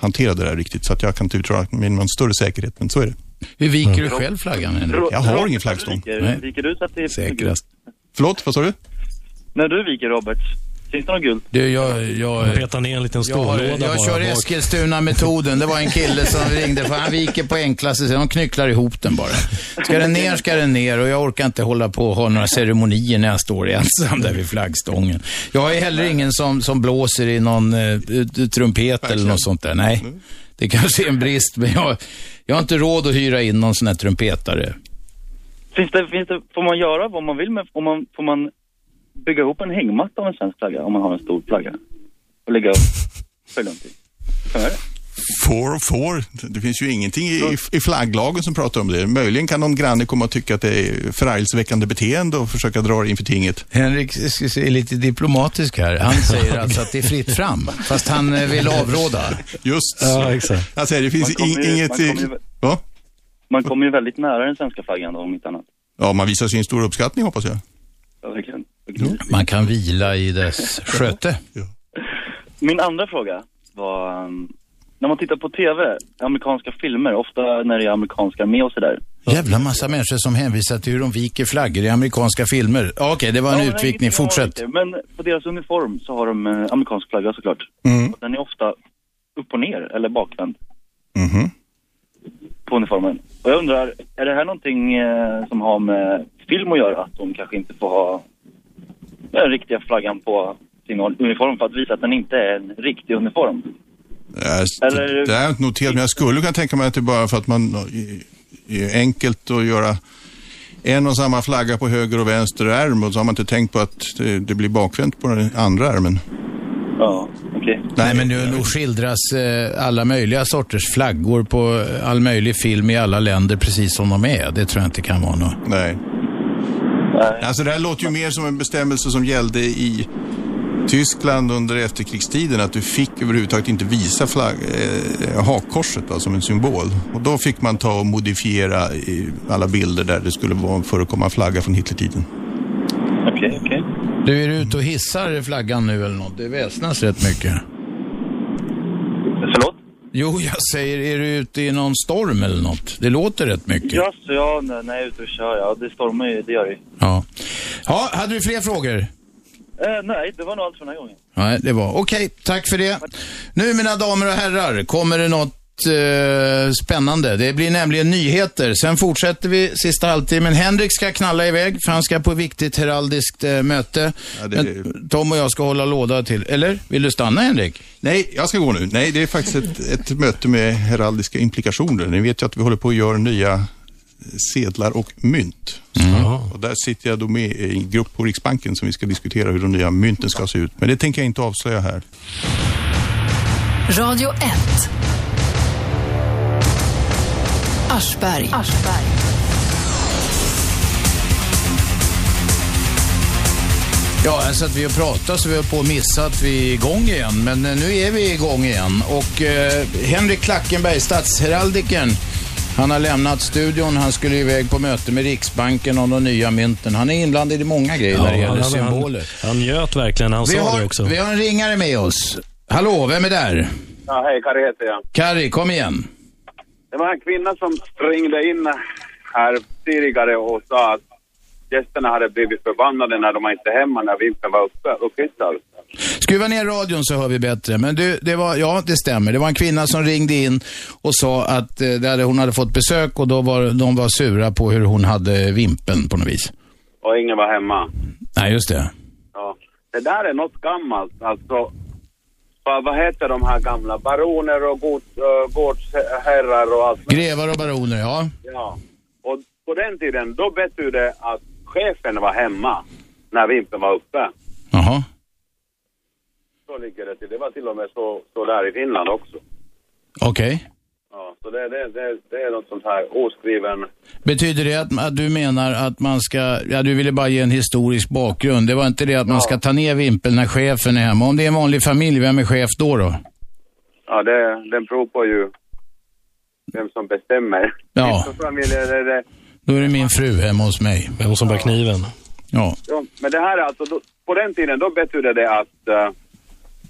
hantera det där riktigt så att jag kan inte uttala mig med någon större säkerhet, men så är det. Hur viker Mm. du själv flaggan, Henrik? Jag har ingen eh, flaggstång. Viker, viker du så att det är Förlåt, vad sa du? När du viker Robert, Finns det något gult? Du, jag, jag, Peta ner en liten jag, har- stållåda jag kör bara bak. Eskilstuna-metoden. Det var en kille som ringde för han viker på enklaste sätt. De knycklar ihop den bara. Ska den ner ska den ner och jag orkar inte hålla på och ha några ceremonier när jag står ensam där vid flaggstången. Jag är heller ingen som, som blåser i någon eh, trumpet eller något sånt där. Nej, Mm. det kanske är en brist men jag, jag har inte råd att hyra in någon sån här trumpetare. Finns det, finns det, får man göra vad man vill med, får man, får man bygga ihop en hängmatta av en svensk flagga om man har en stor flagga? Och lägga upp för lång tid? Kan man göra det? Får och får. Det finns ju ingenting i, i flagglagen som pratar om det. Möjligen kan någon granne komma och tycka att det är förargelseväckande beteende och försöka dra det inför tinget. Henrik är lite diplomatisk här. Han säger alltså att det är fritt fram, fast han eh, vill avråda. Just Ja, exakt. Alltså, det finns Man kommer in, ju- inget... man kommer ju- Va? Man kommer ju väldigt nära den svenska flaggan då, om inte annat. Ja, man visar sin stora uppskattning hoppas jag. Ja, verkligen. Man kan vila i dess sköte. Min andra fråga var, um, när man tittar på TV, amerikanska filmer, ofta när det är amerikanska med och sådär. Jävla massa människor som hänvisar till hur de viker flaggor i amerikanska filmer. Ja, Okej, det var en Ja, men utvikning. ingenting om Fortsätt. det, Men på deras uniform så har de eh, amerikansk flagga såklart. Mm. Och Den är ofta upp och ner eller bakvänd Mm-hmm. på uniformen. Och jag undrar, är det här någonting eh, som har med film att göra? Att de kanske inte får ha den riktiga flaggan på sin uniform för att visa att den inte är en riktig uniform? Nej, Eller- Det det har jag inte noterat, men jag skulle kunna tänka mig att det är bara för att man eh, är enkelt att göra en och samma flagga på höger och vänster ärm och så har man inte tänkt på att det, det blir bakvänt på den andra ärmen. Ja, okej. Nej, men nu, nu skildras eh, alla möjliga sorters flaggor på all möjlig film i alla länder precis som de är. Det tror jag inte kan vara något. Nej. Alltså det här låter ju mer som en bestämmelse som gällde i Tyskland under efterkrigstiden att du fick överhuvudtaget inte visa flagg, eh, hakkorset va, som en symbol. Och då fick man ta och modifiera i alla bilder där det skulle vara, förekomma en flagga från Hitlertiden. Okej, okej. Du är ute och hissar flaggan nu eller något? Det väsnas rätt mycket. Förlåt? Jo, jag säger, är du ute i någon storm eller något? Det låter rätt mycket. Ja, så ja, när när jag är ute och kör, ja, det stormar ju, det gör det ju. Ja. Ja, hade du fler frågor? Eh, nej, det var nog allt för den här gången. Nej, det var okej. Tack för det. Nu mina damer och herrar kommer det något eh, spännande. Det blir nämligen nyheter. Sen fortsätter vi sista halvtimmen. Henrik ska knalla iväg för han ska på viktigt heraldiskt eh, möte. det- Men Tom och jag ska hålla låda till, eller? Vill du stanna Henrik? Nej, jag ska gå nu. Nej, det är faktiskt ett, ett möte med heraldiska implikationer. Ni vet ju att vi håller på att göra nya sedlar och mynt. Mm. Och där sitter jag då med i en grupp på Riksbanken som vi ska diskutera hur de nya mynten ska se ut. Men det tänker jag inte avslöja här. Radio 1. Aschberg. Ja, alltså att vi har pratat så vi har på missat vi är igång igen. Men eh, nu är vi igång igen. Och eh, Henrik Klackenberg, statsheraldikern, han har lämnat studion. Han skulle iväg på möte med Riksbanken om de nya mynten. Han är inblandad i många grejer när det gäller symboler. Han, han njöt verkligen när han Vi sa har- det också. Vi har en ringare med oss. Hallå, vem är där? Ja, hej, Kari heter jag. Kari, kom igen. Det var en kvinna som ringde in här tidigare och sa att gästerna hade blivit förbannade när de var inte hemma när vintern var uppe, upphissad. Skruva ner radion så hör vi bättre. Men du, det var, ja det stämmer. Det var en kvinna som ringde in och sa att eh, det hade, hon hade fått besök och då var, de var sura på hur hon hade vimpen på något vis. Och ingen var hemma. Nej, just det. Ja. Det där är något gammalt, alltså. Vad, vad heter de här gamla? Baroner och god, uh, gårdsherrar och allt. Grevar och baroner, ja. Ja. Och på den tiden, då betydde det att chefen var hemma när vintern var uppe. Jaha. Så ligger det till. Det var till och med så, så där i Finland också. Okej. Ja, så det, det, det, det är något sånt här oskriven... Betyder det att, att du menar att man ska, ja du ville bara ge en historisk bakgrund. Det var inte det att man ska ta ner vimpeln när chefen är hemma. Om det är en vanlig familj, vem är chef då då? Ja, det, den beror på ju vem som bestämmer. Ja. Vissa familjer är det... Då är det min fru hemma hos mig. Vem som bär kniven? Ja. Ja, men det här är alltså... Då, på den tiden då betydde det att eh,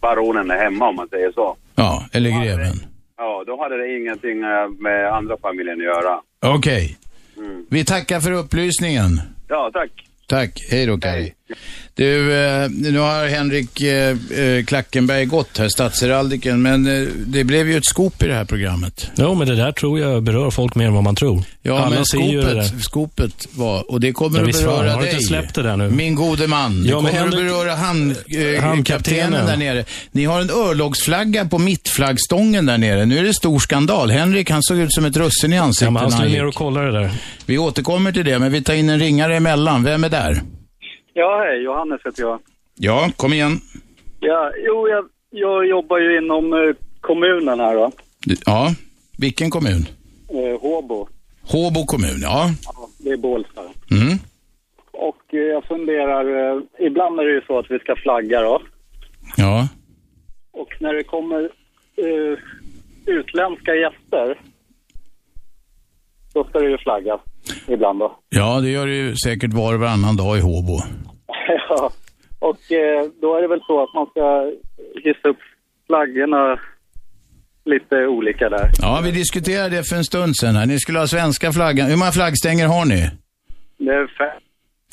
baronen är hemma om man säger så. Ja, eller greven. Ja, då hade det ingenting eh, med andra familjen att göra. Mm. Okej. Vi tackar för upplysningen. Ja, tack. Tack. Hej då, Kaj. Du, eh, nu har Henrik eh, eh, Klackenberg gått här, statsheraldiken, men eh, det blev ju ett skop i det här programmet. Jo, men det där tror jag berör folk mer än vad man tror. Ja, Alla men ser ju det där. skopet, skopet var, och det kommer Ja, att visst var det. beröra Har du dig. inte släppt det där nu? Min gode man. Det Ja, kommer men att Henrik- beröra han, eh, Hamnkaptenen. kaptenen där nere. Ni har en örlogsflagga på mittflaggstången där nere. Nu är det stor skandal. Henrik, han såg ut som ett russin i ansiktet Ja, men han när skulle gick. ner och kolla det där. Vi återkommer till det, men vi tar in en ringare emellan. Vem är där? Ja, hej. Johannes heter jag. Ja, kom igen. Ja, jo, jag, jag jobbar ju inom eh, kommunen här då. Du- Ja, vilken kommun? Eh, Håbo. Håbo kommun, ja. Det är Bålsta. Mm. Och eh, jag funderar, eh, ibland är det ju så att vi ska flagga då. Ja. Och när det kommer eh, utländska gäster, då ska det ju flaggas ibland då. Ja, det gör det ju säkert var och varannan dag i Håbo. ja. Och eh, då är det väl så att man ska hissa upp flaggorna lite olika där. Ja, vi diskuterade det för en stund sedan här. Ni skulle ha svenska flaggan. Hur många flaggstänger har ni? Det är fem.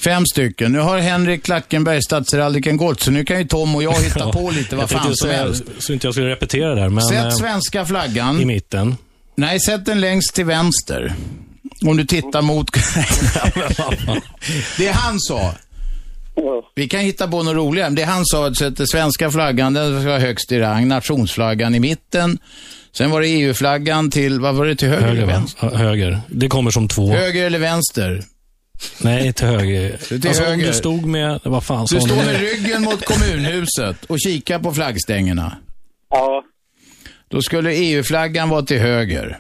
Fem stycken. Nu har Henrik Klackenberg, statsheraldiken, gått, så nu kan ju Tom och jag hitta på lite vad Jag tänkte fan som säga, helst. Så inte jag skulle repetera det där, men... eh, Sätt svenska flaggan. I mitten. Nej, sätt den längst till vänster. Om du tittar mot... det han sa. Vi kan hitta på något roligare. men Det han sa, att sätta svenska flaggan, den ska vara högst i rang. Nationsflaggan i mitten. Sen var det EU-flaggan till, vad var det, till höger, Höger, eller va? vänster? Ja, höger. Det kommer som två. Höger eller vänster? Nej, till höger. till alltså, om höger. du stod med... Vad fan sa Du hon står nu? med ryggen mot kommunhuset och kikar på flaggstängerna. Ja. Då skulle EU-flaggan vara till höger.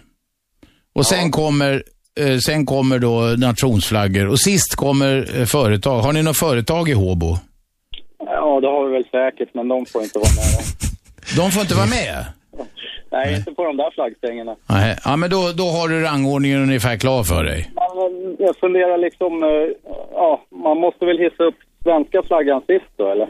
Och sen kommer, eh, sen kommer då nationsflaggor. Och sist kommer eh, företag. Har ni något företag i Håbo? Ja, det har vi väl säkert, men de får inte vara med. De får inte vara med? Nej, inte på de där flaggstängerna. Nej. Ja, men då, då har du rangordningen ungefär klar för dig. Men jag funderar liksom, eh, ja, man måste väl hissa upp svenska flaggan sist då, eller?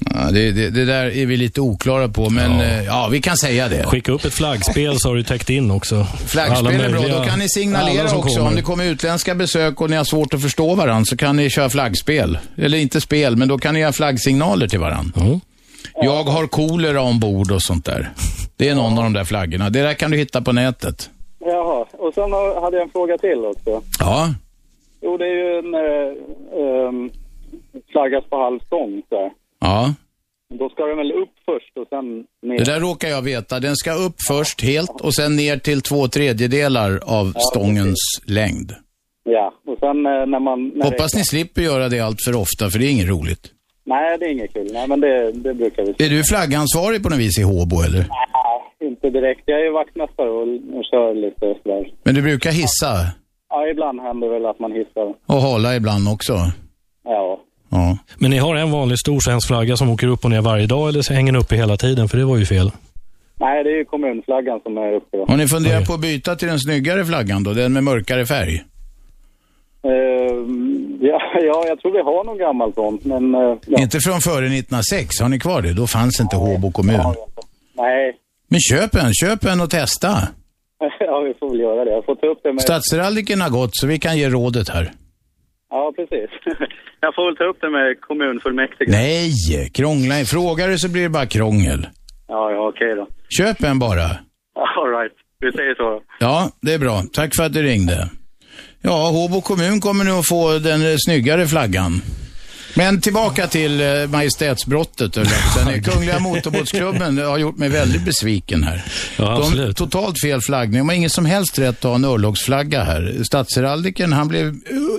Ja, det, det, det där är vi lite oklara på, men ja, ja vi kan säga det. Skicka upp ett flaggspel så har du täckt in också. Alla Flaggspel är bra. möjliga- Då kan ni signalera alla som också. Om det kommer utländska besök och ni har svårt att förstå varandra så kan ni köra flaggspel. Eller inte spel, men då kan ni göra flaggsignaler till varandra. Jag har kolera ombord och sånt där. Det är någon av de där flaggorna. Det där kan du hitta på nätet. Jaha, och sen har- hade jag en fråga till också. Ja, Jo, det är ju när um, flaggas på halv stång så här. ja. Då ska den väl upp först och sen ner. Det där råkar jag veta. Den ska upp först helt och sen ner till två tredjedelar av stångens längd. Ja, och sen eh, när man... När Hoppas det... ni slipper göra det allt för ofta, för det är inget roligt. Nej, det är inget kul. Nej, men det, det brukar vi... Är du flaggansvarig på något vis i Håbo, eller? Nej, inte direkt. Jag är ju vaktmästare och, och kör lite sådär. Men du brukar hissa Ja, ibland händer väl att man hissar. och hala ibland också? Ja. Ja. Men ni har en vanlig stor svensk flagga som åker upp och ner varje dag eller så hänger den uppe hela tiden? För det var ju fel. Nej, det är ju kommunflaggan som är uppe då. Har ni funderat på att byta till den snyggare flaggan då? Den med mörkare färg? Ehm, ja, ja, jag tror vi har någon gammal sån, men... eh, ja. Inte från före 1906. Har ni kvar det? Då fanns inte Håbo kommun. Nej. Men köp en, köp en och testa. ja, vi får väl göra det. Jag får ta upp det med... Statsheraldiken har gått så vi kan ge rådet här. Ja, precis. jag får väl ta upp det med kommunfullmäktige. Nej, krångla Frågar du så blir det bara krångel. Ja, ja, okej då. Köp en bara. All right. Vi säger så då. Ja, det är bra. Tack för att du ringde. Ja, Håbo kommun kommer nu att få den eh, snyggare flaggan. Men tillbaka till eh, majestätsbrottet. höll jag på att säga. Nej, Kungliga motorbåtsklubben har gjort mig väldigt besviken här. Ja, De absolut. har totalt fel flaggning. De har ingen som helst rätt att ha en örlogsflagga här. Statsheraldiken, han blev eh,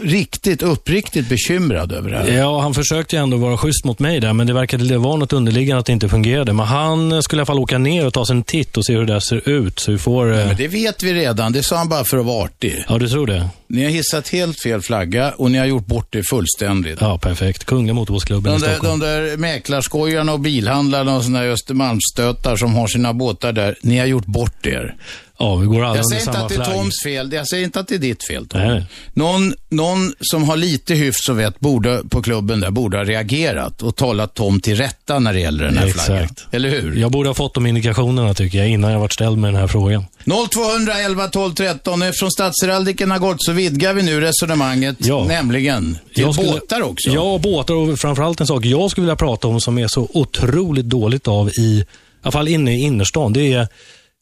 riktigt, uppriktigt bekymrad över det här. Ja, han försökte ju ändå vara schysst mot mig där, men det verkade det var något underliggande att det inte fungerade. Men han eh, skulle i alla fall åka ner och ta sig en titt och se hur det där ser ut. Så vi får... eh, Men det vet vi redan. Det sa han bara för att vara artig. Ja, du tror det? Ni har hissat helt fel flagga och ni har gjort bort det fullständigt. Ja, perfekt. Kungliga Motorbåtsklubben i De där, Stockholm. de där mäklarskojarna och bilhandlarna och sådana där Östermalmsstötar som har sina båtar där, ni har gjort bort er. Ja, vi går alla Jag under säger inte samma att det är flagg. Toms fel. Jag säger inte att det är ditt fel, Tom. Nej. Någon, någon som har lite hyfs och vett borde, på klubben där borde ha reagerat och talat Tom till rätta när det gäller den här Ja, flaggan. exakt. Eller hur? Jag borde ha fått de indikationerna tycker jag innan jag varit ställd med den här frågan. 0211 12 13. Eftersom statsheraldiken har gått så vidgar vi nu resonemanget, nämligen till Jag skulle- båtar också. Ja, båtar och framförallt en sak jag skulle vilja prata om som är så otroligt dåligt av i, i alla fall inne i innerstan, det är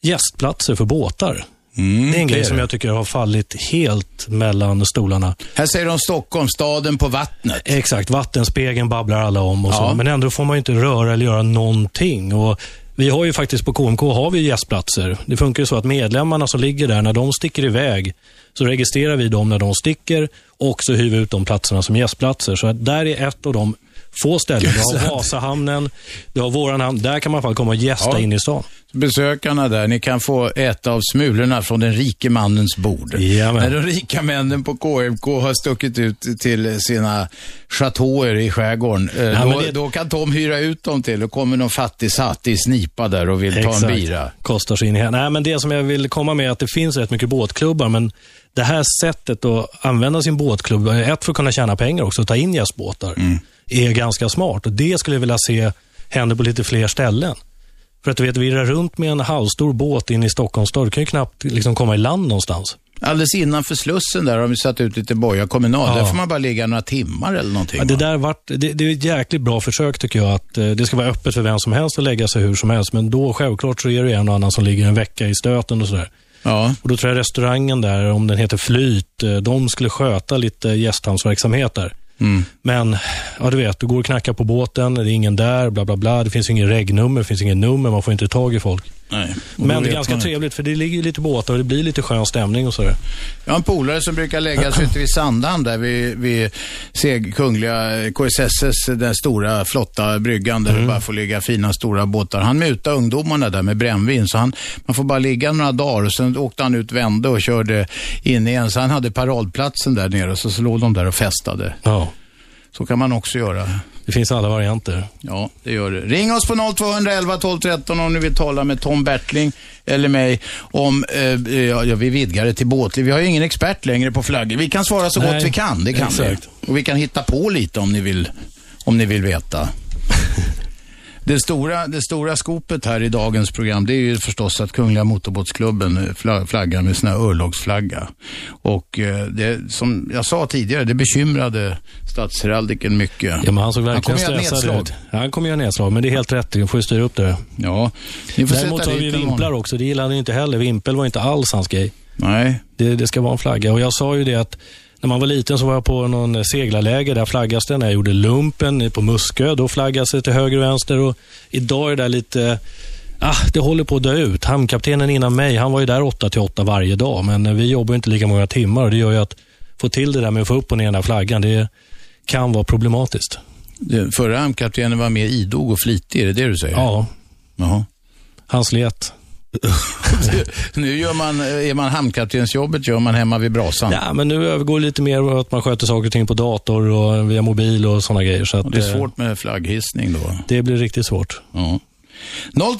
gästplatser för båtar. det är en det är grej som det. jag tycker har fallit helt mellan stolarna. Här säger de Stockholm, staden på vattnet. Exakt, vattenspegeln babblar alla om och Ja. så. Men ändå får man ju inte röra eller göra någonting. Och vi har ju faktiskt på KMK har vi ju gästplatser. Det funkar ju så att medlemmarna som ligger där, när de sticker iväg så registrerar vi dem när de sticker och så hyr vi ut de platserna som gästplatser. Så att där är ett av de få ställen. Du har Vasahamnen, du har våran hamn. Där kan man i alla fall komma och gästa Ja. in i stan. Besökarna där, ni kan få äta av smulorna från den rike mannens bord. När de rika männen på KMK har stuckit ut till sina chateauer i skärgården, eh, Ja, men då, det- då kan Tom hyra ut dem till. Då kommer någon fattig satt i snipa där och vill ta en bira. Kostar sig in i här. Nej, men det som jag vill komma med är att det finns rätt mycket båtklubbar, men det här sättet att använda sin båtklubb, ett för att kunna tjäna pengar också, och ta in gästbåtar, Mm. är ganska smart. Och Det skulle jag vilja se händer på lite fler ställen. För att du vet, virra runt med en halvstor båt in i Stockholms stad, du kan ju knappt liksom komma i land någonstans. Alldeles innanför Slussen där har vi satt ut lite boja kommunal. Där får man bara ligga några timmar eller någonting. Ja, det, där vart, det, det är ett jäkligt bra försök tycker jag. att eh, Det ska vara öppet för vem som helst att lägga sig hur som helst. Men då självklart så är det en och annan som ligger en vecka i stöten och sådär. Ja. Och då tror jag restaurangen där, om den heter Flyt, eh, de skulle sköta lite gästhamnsverksamhet där. Mm. Men, ja du vet, du går och knackar på båten, det är ingen där, bla bla bla. Det finns ingen regnummer, det finns ingen nummer, man får inte tag i folk. Nej. Men det är ganska trevligt, för det ligger ju lite båtar och det blir lite skön stämning och sådär. Jag har en polare som brukar lägga sig ute vid Sandhamn där vid, vid Seg, Kungliga eh, KSSs, den stora flotta bryggan där Mm. det bara får ligga fina stora båtar. Han mutar ungdomarna där med brännvin så han, man får bara ligga några dagar och sen åkte han ut, vände och körde in igen. Så han hade paradplatsen där nere och så, så låg de där och festade. Ja. Så kan man också göra. Det finns alla varianter. Ja, det gör det. Ring oss på 0211 12 13 om ni vill tala med Tom Bertling eller mig om, eh, ja, ja, vi vidgar det till båtliv. Vi har ju ingen expert längre på flaggor. Vi kan svara så Nej, gott vi kan, det kan exakt. vi. Och vi kan hitta på lite om ni vill, om ni vill veta. Det stora, det stora skopet här i dagens program det är ju förstås att Kungliga Motorbåtsklubben eh, fla- flaggar med sina örlogsflagga. Och eh, det, som jag sa tidigare, det bekymrade statsheraldiken mycket. Ja, men han såg verkligen kommer göra ett stressad nedslag. ut. Ja, Han kommer göra nedslag, men det är helt rätt. Du får ju styra upp det. Ja, ni får Däremot sätta har vi dit en vimplar också. Det gillade han ju inte heller. Vimpel var inte alls hans grej. Nej. Det, det ska vara en flagga. Och jag sa ju det att när man var liten så var jag på någon seglarläger. Där flaggas det. När jag gjorde lumpen på Muskö, då flaggas det till höger och vänster. Och idag är det där lite... Ah, det håller på att dö ut. Hamnkaptenen innan mig, han var ju där 8 till 8 varje dag. Men eh, vi jobbar ju inte lika många timmar och det gör ju att få till det där med att få upp och ner den där flaggan, det kan vara problematiskt. Den förra hamnkaptenen var mer idog och flitig, är det det du säger? Ja. Jaha. Han slet. nu gör man, är man hamnkaptensjobbet gör man hemma vid brasan. Ja, men nu övergår det lite mer åt att man sköter saker och ting på dator och via mobil och sådana grejer. Så att, Det är eh, svårt med flagghissning då. Det blir riktigt svårt. Ja.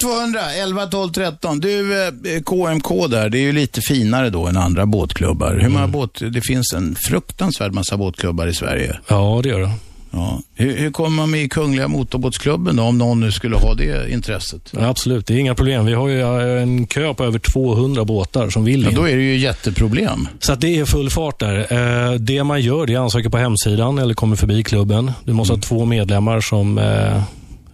0200 11 12 13. Du, eh, KMK där, det är ju lite finare då än andra båtklubbar. Hur många båt, det finns en fruktansvärd massa båtklubbar i Sverige. Ja, det gör det. Ja. Hur, hur kommer man med i Kungliga Motorbåtsklubben då, om någon nu skulle ha det intresset? Ja, Absolut, det är inga problem. Vi har ju eh, en kö på över 200 båtar som vill Ja, in. då är det ju jätteproblem. Så att det är full fart där. Eh, Det man gör det är ansöker på hemsidan eller kommer förbi klubben. Du måste Mm. ha två medlemmar som, eh,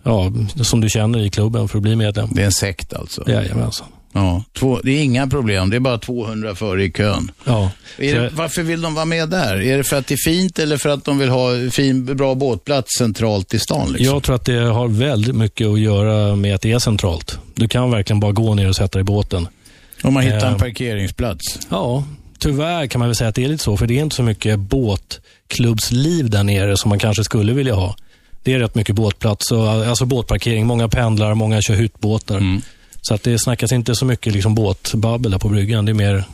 ja, som du känner i klubben för att bli medlem. Det är en sekt alltså? Jajamensan. Ja, två, det är inga problem. Det är bara 200 före i kön. Ja. Är det, varför vill de vara med där? Är det för att det är fint eller för att de vill ha fin, bra båtplats centralt i stan? Liksom? Jag tror att det har väldigt mycket att göra med att det är centralt. Du kan verkligen bara gå ner och sätta dig i båten. Om man hittar en Eh, parkeringsplats. Ja, tyvärr kan man väl säga att det är lite så, för det är inte så mycket båtklubbsliv där nere som man kanske skulle vilja ha. Det är rätt mycket båtplats, och, alltså båtparkering. Många pendlar, många Mm. kör hyttbåtar. Så att det snackas inte så mycket liksom båtbabbel där på bryggan. Det är mer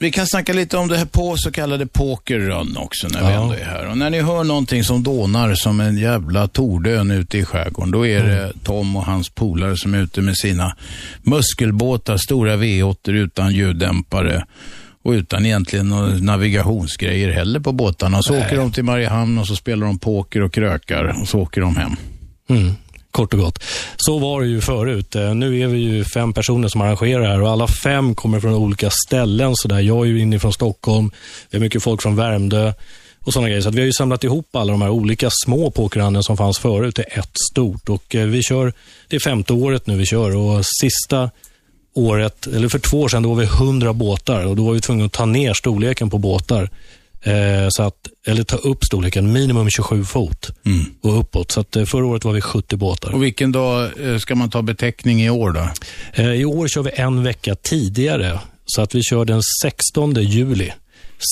Vi kan snacka lite om det här på så kallade pokerrun också när vi ändå är här. Och när ni hör någonting som dånar som en jävla tordön ute i skärgården, då är Mm. det Tom och hans polare som är ute med sina muskelbåtar, stora V8 utan ljuddämpare och utan egentligen några navigationsgrejer heller på båtarna. Så åker de till Mariehamn och så spelar de poker och krökar och så åker de hem. Mm, kort och gott. Så var det ju förut. Eh, Nu är vi ju fem personer som arrangerar det här och alla fem kommer från olika ställen. Så där. Jag är ju inifrån Stockholm, vi har mycket folk från Värmdö och sådana grejer. Så att vi har ju samlat ihop alla de här olika små pokerhandeln som fanns förut till ett stort. Och eh, vi kör, det är femte året nu vi kör och sista året, eller för två år sedan, då var vi 100 båtar och då var vi tvungna att ta ner storleken på båtar. Eh, så att, eller ta upp storleken, minimum 27 fot och uppåt. Så att, eh, förra året var vi 70 båtar. Och vilken dag eh, ska man ta beteckning i år då? Eh, I år kör vi en vecka tidigare, så att vi kör den 16 juli.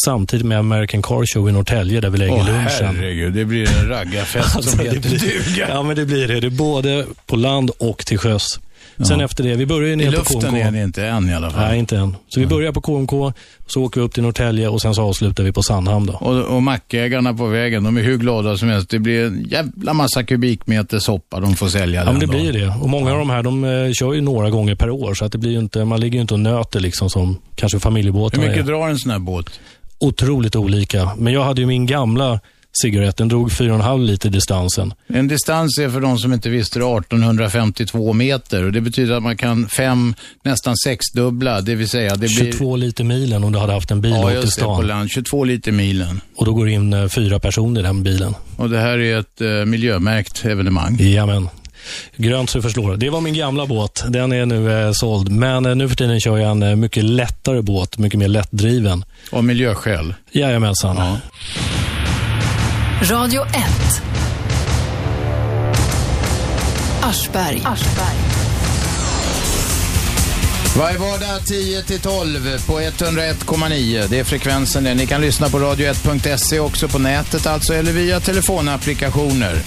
Samtidigt med American Car Show i Norrtälje där vi lägger Åh lunchen. herregud, det blir en raggarfest Alltså, som det heter blir- duga. Ja, men det blir det. Det är både på land och till sjöss. Sen Ja. efter det, vi börjar ju I ner på luften KMK. är ni inte än i alla fall. Nej, inte än. Så vi börjar på KMK, så åker vi upp till Norrtälje och sen så avslutar vi på Sandhamn. Då. Och, och mackägarna på vägen, de är hur glada som helst. Det blir en jävla massa kubikmeter soppa de får sälja Ja, men den det dagen. blir ju det. Och många av de här de eh, kör ju några gånger per år, så att det blir ju inte, man ligger ju inte och nöter liksom som kanske Hur familjebåtarna mycket är. drar en sån här båt? Otroligt olika. Men jag hade ju min gamla cigarett, den drog 4,5 liter distansen. En distans är för de som inte visste det 1852 meter och det betyder att man kan fem, nästan sexdubbla, det vill säga det blir... 22 liter milen om du hade haft en bil ja, åt till just det, på stan. land. 22 liter milen. Och då går det in eh, fyra personer i den bilen. Och det här är ett eh, miljömärkt evenemang. Jajamän. Grönt så förslår. Det var min gamla båt. Den är nu eh, såld. Men eh, nu för tiden kör jag en eh, mycket lättare båt, mycket mer lättdriven. Av miljöskäl? Jajamensan. Ja. Radio 1. Aschberg. Varje vardag 10 till 12 på 101,9. Det är frekvensen det. Ni kan lyssna på radio1.se också på nätet alltså eller via telefonapplikationer.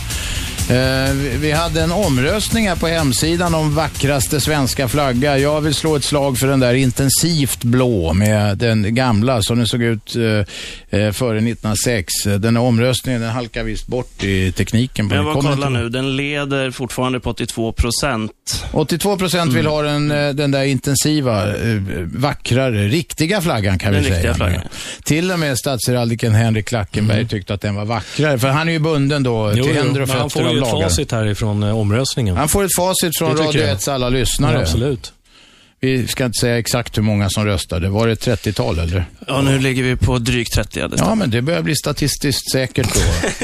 Eh, vi- vi hade en omröstning här på hemsidan om vackraste svenska flagga. Jag vill slå ett slag för den där intensivt blå med den gamla som den såg ut eh, eh, före 1906. Eh, Den här omröstningen den halkar visst bort i tekniken. på- Jag var och Kommer kollade inte- nu, den leder fortfarande på 82 procent. 82 procent Mm. vill ha den, eh, den där intensiva, eh, vackrare, riktiga flaggan kan Den vi säga. riktiga flaggan. Till och med statsheraldiken Henrik Klackenberg tyckte att den var vackrare, för han är ju bunden då Mm. Jo, till jo, händer och men han fötter får av ju ett lagar. facit härifrån eh, omröstningen. Han får ett facit från Det tycker Radio jag. 1 alla lyssnare. Ja, absolut. Vi ska inte säga exakt hur många som röstade. Var det ett 30-tal eller? Ja, nu ligger vi på drygt 30. det Ja, stämmer. men det börjar bli statistiskt säkert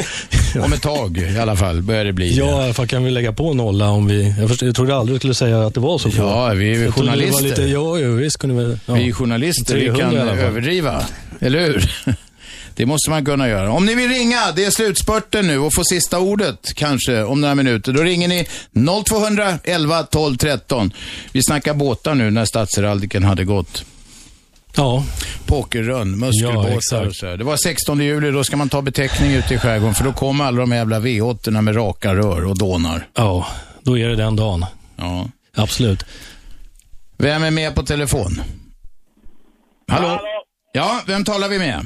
då. Om ett tag i alla fall börjar det bli. Ja, i alla fall kan vi lägga på en nolla om vi... Jag, först, jag trodde aldrig du skulle säga att det var så få. Ja, vi är Jag trodde det var journalister. Lite, ja, ja, visst kunde vi... Ja. Vi är journalister, vi 300 kan i alla fall. överdriva. Eller hur? Det måste man kunna göra. Om ni vill ringa, det är slutspurten nu och få sista ordet kanske om några minuter. Då ringer ni 0200 11 12 13. Vi snackar båtar nu när statsheraldiken hade gått. Ja. Pokerrun, muskelbåtar exakt. och så här. Det var 16 juli, då ska man ta beteckning ute i skärgården för då kommer alla de jävla v 8 med raka rör och dånar. Ja, då är det den dagen. Ja. Absolut. Vem är med på telefon? Hallå? Ja, vem talar vi med?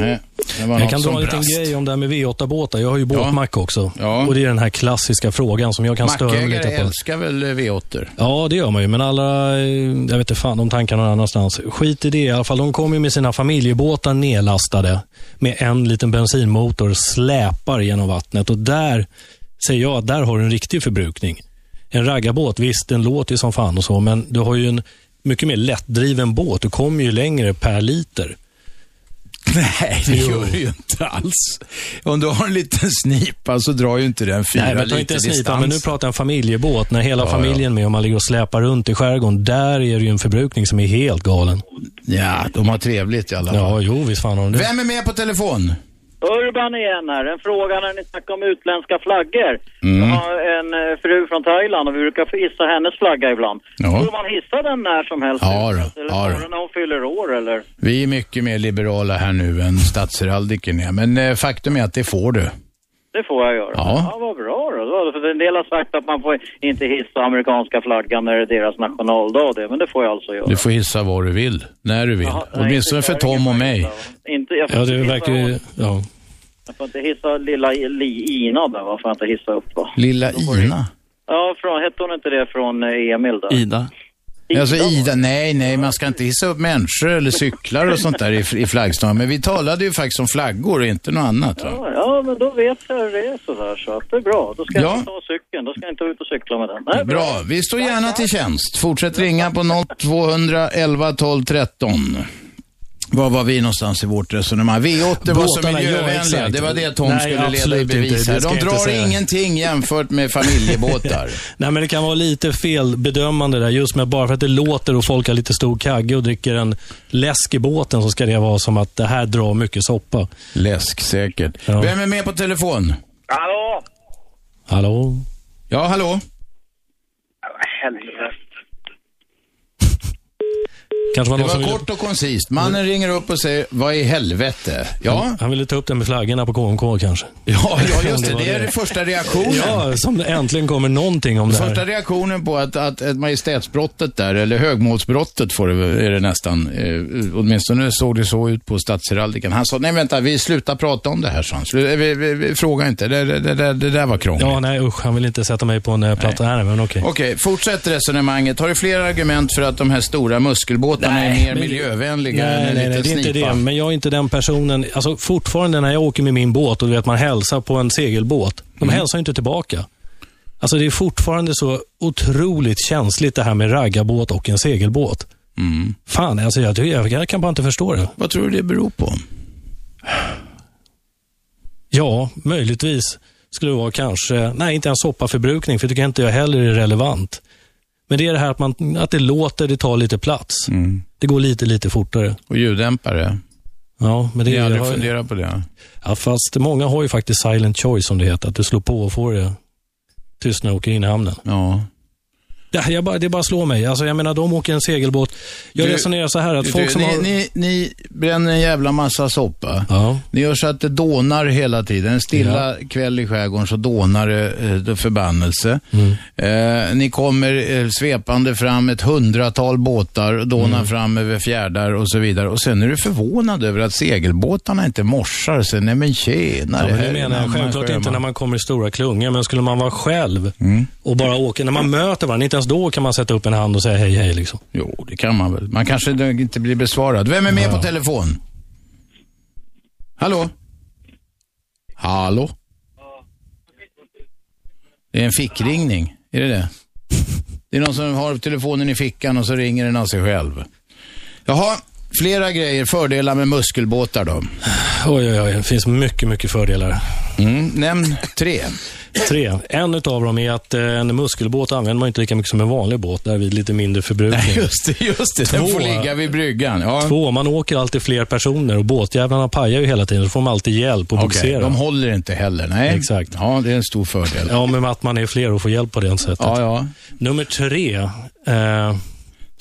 Nej, det var Jag något kan dra som en liten brast. grej om det här med V8-båtar. Jag har ju båtmack också. Och det är den här klassiska frågan som jag kan störa mig Mackägare lite på. älskar väl V8? Ja, det gör man ju, men alla, eh, jag vet inte fan, de tankarna någon annanstans. Skit i det i alla fall. De kommer ju med sina familjebåtar nedlastade med en liten bensinmotor, släpar genom vattnet och där säger jag att där har du en riktig förbrukning. En raggarbåt, visst den låter ju som fan och så, men du har ju en mycket mer lättdriven båt. Du kommer ju längre per liter. Nej, det gör det ju inte alls. Om du har en liten snipa så drar ju inte den fyra Nej, men ta liter inte en snipa, distans. men nu pratar jag en familjebåt. När hela Ja, ja. familjen är med och man ligger och släpar runt i skärgården, där är det ju en förbrukning som är helt galen. Ja, de har trevligt i alla fall. Ja, jo, visst fan har de det. Vem är med på telefon? Urban igen här. En fråga när ni snackar om utländska flaggor. Mm. Jag har en eh, fru från Thailand och vi brukar hissa hennes flagga ibland. Får man hissa den när som helst? Ja, utomlands, då. Eller Ja, då. bara när hon fyller år eller? Vi är mycket mer liberala här nu än statsheraldiken är, men eh, faktum är att det får du. det får jag göra. Ja. vad bra då. då. För en del har sagt att man får inte hissa amerikanska flaggan när det är deras nationaldag det, men det får jag alltså göra. Du får hissa var du vill, när du vill. Åtminstone för Tom och mig. Inte, jag får Ja, inte det hissa, verkar ju... Ja. jag får inte hissa lilla li, Ina där va, får jag inte hissa upp va? Lilla Ina. Ja, från, hette hon inte det från eh, Emil där? Ida. Alltså Ida, nej, nej, man ska inte hissa upp människor eller cyklar och sånt där i, i flaggstången. Men vi talade ju faktiskt om flaggor och inte något annat. Va? Ja, ja, men då vet jag hur det är sådär så att det är bra. Då ska Ja. jag inte ta cykeln, då ska jag inte ut och cykla med den. Nej, Bra, vi står gärna till tjänst. Fortsätt ringa på 0211 12 13. Var var vi någonstans i vårt resonemang? V80 var så Båtarna, ja, miljövänliga. exakt. det var det Tom Nej, skulle leda i absolut bevis inte. Det här. ska De jag inte drar säga. ingenting jämfört med familjebåtar. Nej, men det kan vara lite felbedömande där. Just med bara för att det låter och folk har lite stor kagge och dricker en läsk i båten så ska det vara som att det här drar mycket soppa. Läsk, säkert. Vem är med på telefon? Hallå! Hallå? Ja, hallå? Helvete. Kanske var det någon som var ville- kort och koncist. Mannen ringer upp och säger, vad i helvete? Ja, Han, han ville ta upp det med flaggorna på KMK kanske. ja, ja just det. var Det är den första reaktionen. Ja, som det äntligen kommer någonting om det här. Första reaktionen på att, att, att majestätsbrottet där, eller högmålsbrottet får det, är det nästan, eh, åtminstone såg det så ut på statsheraldiken. Han sa, nej vänta, vi slutar prata om det här, sa han. Slu- eh, vi, vi, vi, Fråga inte, det, det, det, där- det där var krångligt. Ja, nej usch. Han vill inte sätta mig på en eh, platta. Nej, men okej. Okej, fortsätt resonemanget. Har du fler argument för att de här stora muskelbåtarna är mer men- miljövänliga nej, än en nej, nej, liten det är inte snipa? det. Men jag är inte den personen. Alltså fortfarande när jag åker med min båt och du vet, man hälsar på en segelbåt. De Mm. hälsar ju inte tillbaka. Alltså det är fortfarande så otroligt känsligt det här med raggarbåt och en segelbåt. Fan, alltså jag, jag, jag kan bara inte förstå det. Mm. Vad tror du det beror på? Ja, möjligtvis skulle det vara kanske, nej inte en soppaförbrukning, för det tycker inte jag heller är relevant. Men det är det här att, man, att det låter, det tar lite plats. Det går lite, lite fortare. Mm. Och ljuddämpare. Ja, men det Ni har aldrig jag har- funderat på det? Ja, fast många har ju faktiskt silent choice som det heter. Att du slår på och får det tyst när du åker in i hamnen. Ja. Det, jag bara, det bara slår mig. Alltså, jag menar, de åker en segelbåt. Jag Du- resonerar så här att du- folk du, som ni, har... ni, ni bränner en jävla massa soppa. Ni gör så att det dånar hela tiden. En stilla kväll i skärgården så dånar det eh, det förbannelse. Mm. Eh, ni kommer eh, svepande fram ett hundratal båtar, dånar Mm. fram över fjärdar och så vidare. Och sen är du förvånad över att segelbåtarna inte morsar. Sen, nej men Ja, tjenare. men här det är en menar jag annan självklart sjöman. inte när man kommer i stora klungor, men skulle man vara själv Mm. och bara åka, när man möter varandra, inte ens då kan man sätta upp en hand och säga hej, hej. Liksom. Jo, det kan man väl. Man kanske inte blir besvarad. Vem är med på telefon? Hallå? Hallå? Det är en fickringning. Är det det? Det är någon som har telefonen i fickan och så ringer den av sig själv. Jaha, flera grejer. Fördelar med muskelbåtar då? Oj, oj, oj. Det finns mycket, mycket fördelar. Mm, nämn tre. Tre. En utav dem är att eh, en muskelbåt använder man inte lika mycket som en vanlig båt, där vid lite mindre förbrukning. Just det, just det. Den Två. får ligga vid bryggan. Ja. Två, man åker alltid fler personer och båtjävlarna pajar ju hela tiden. Så får man alltid hjälp och Okej, bogsera. de håller inte heller. Nej. Exakt. Ja, det är en stor fördel. Ja, men att man är fler och får hjälp på det sättet. Ja, ja. Nummer tre. Eh,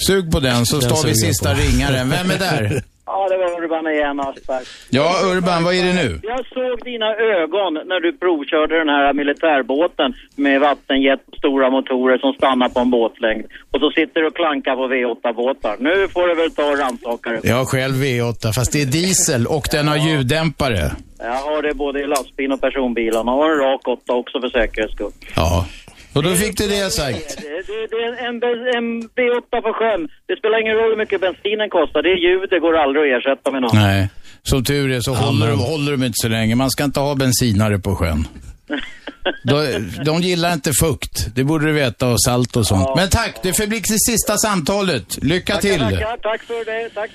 Sug på den så tar vi sista ringaren. Vem är där? Ja, det var Urban igen, Aschberg. Ja, Urban, vad är det nu? Jag såg dina ögon när du provkörde den här militärbåten med vattenjet och stora motorer som stannar på en båtlängd. Och så sitter du och klankar på V8-båtar. Nu får du väl ta och rannsaka dig. Jag har själv V8, fast det är diesel och den har ljuddämpare. Jag har det både i lastbil och personbilarna. Jag har en rak åtta också för säkerhets skull. Ja. Och då fick du det sagt. Det, det, det är en, en, be- en V8 på sjön. Det spelar ingen roll hur mycket bensinen kostar. Det är ljud, det går aldrig att ersätta med något. Nej. Som tur är så håller, de, håller de inte så länge. Man ska inte ha bensinare på sjön. De, de gillar inte fukt. Det borde du veta och salt och sånt. Men tack, det förblir det sista samtalet. Lycka till. Tackar, tack för det. Tack.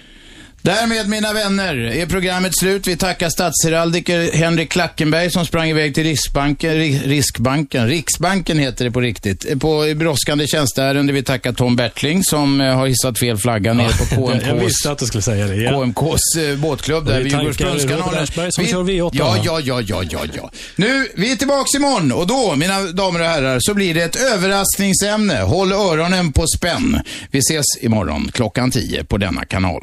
Därmed mina vänner är programmet slut. Vi tackar statsheraldiker Henrik Klackenberg som sprang iväg till Riksbanken, Ri- Riksbanken, Riksbanken heter det på riktigt. På brådskande tjänsteärende vi tackar Tom Bertling som eh, har hissat fel flagga ner på jag KMKs visste att du skulle säga det. Ja. KMKs eh, båtklubb Och det där är vid tankar Robert Djurgårdsbrunnskanalen. Aschberg som Vi- kör V8, Ja, va? ja, ja, ja, ja, ja. Nu, vi är tillbaks imorgon och då, mina damer och herrar, så blir det ett överraskningsämne. Håll öronen på spänn. Vi ses imorgon klockan 10 på denna kanal.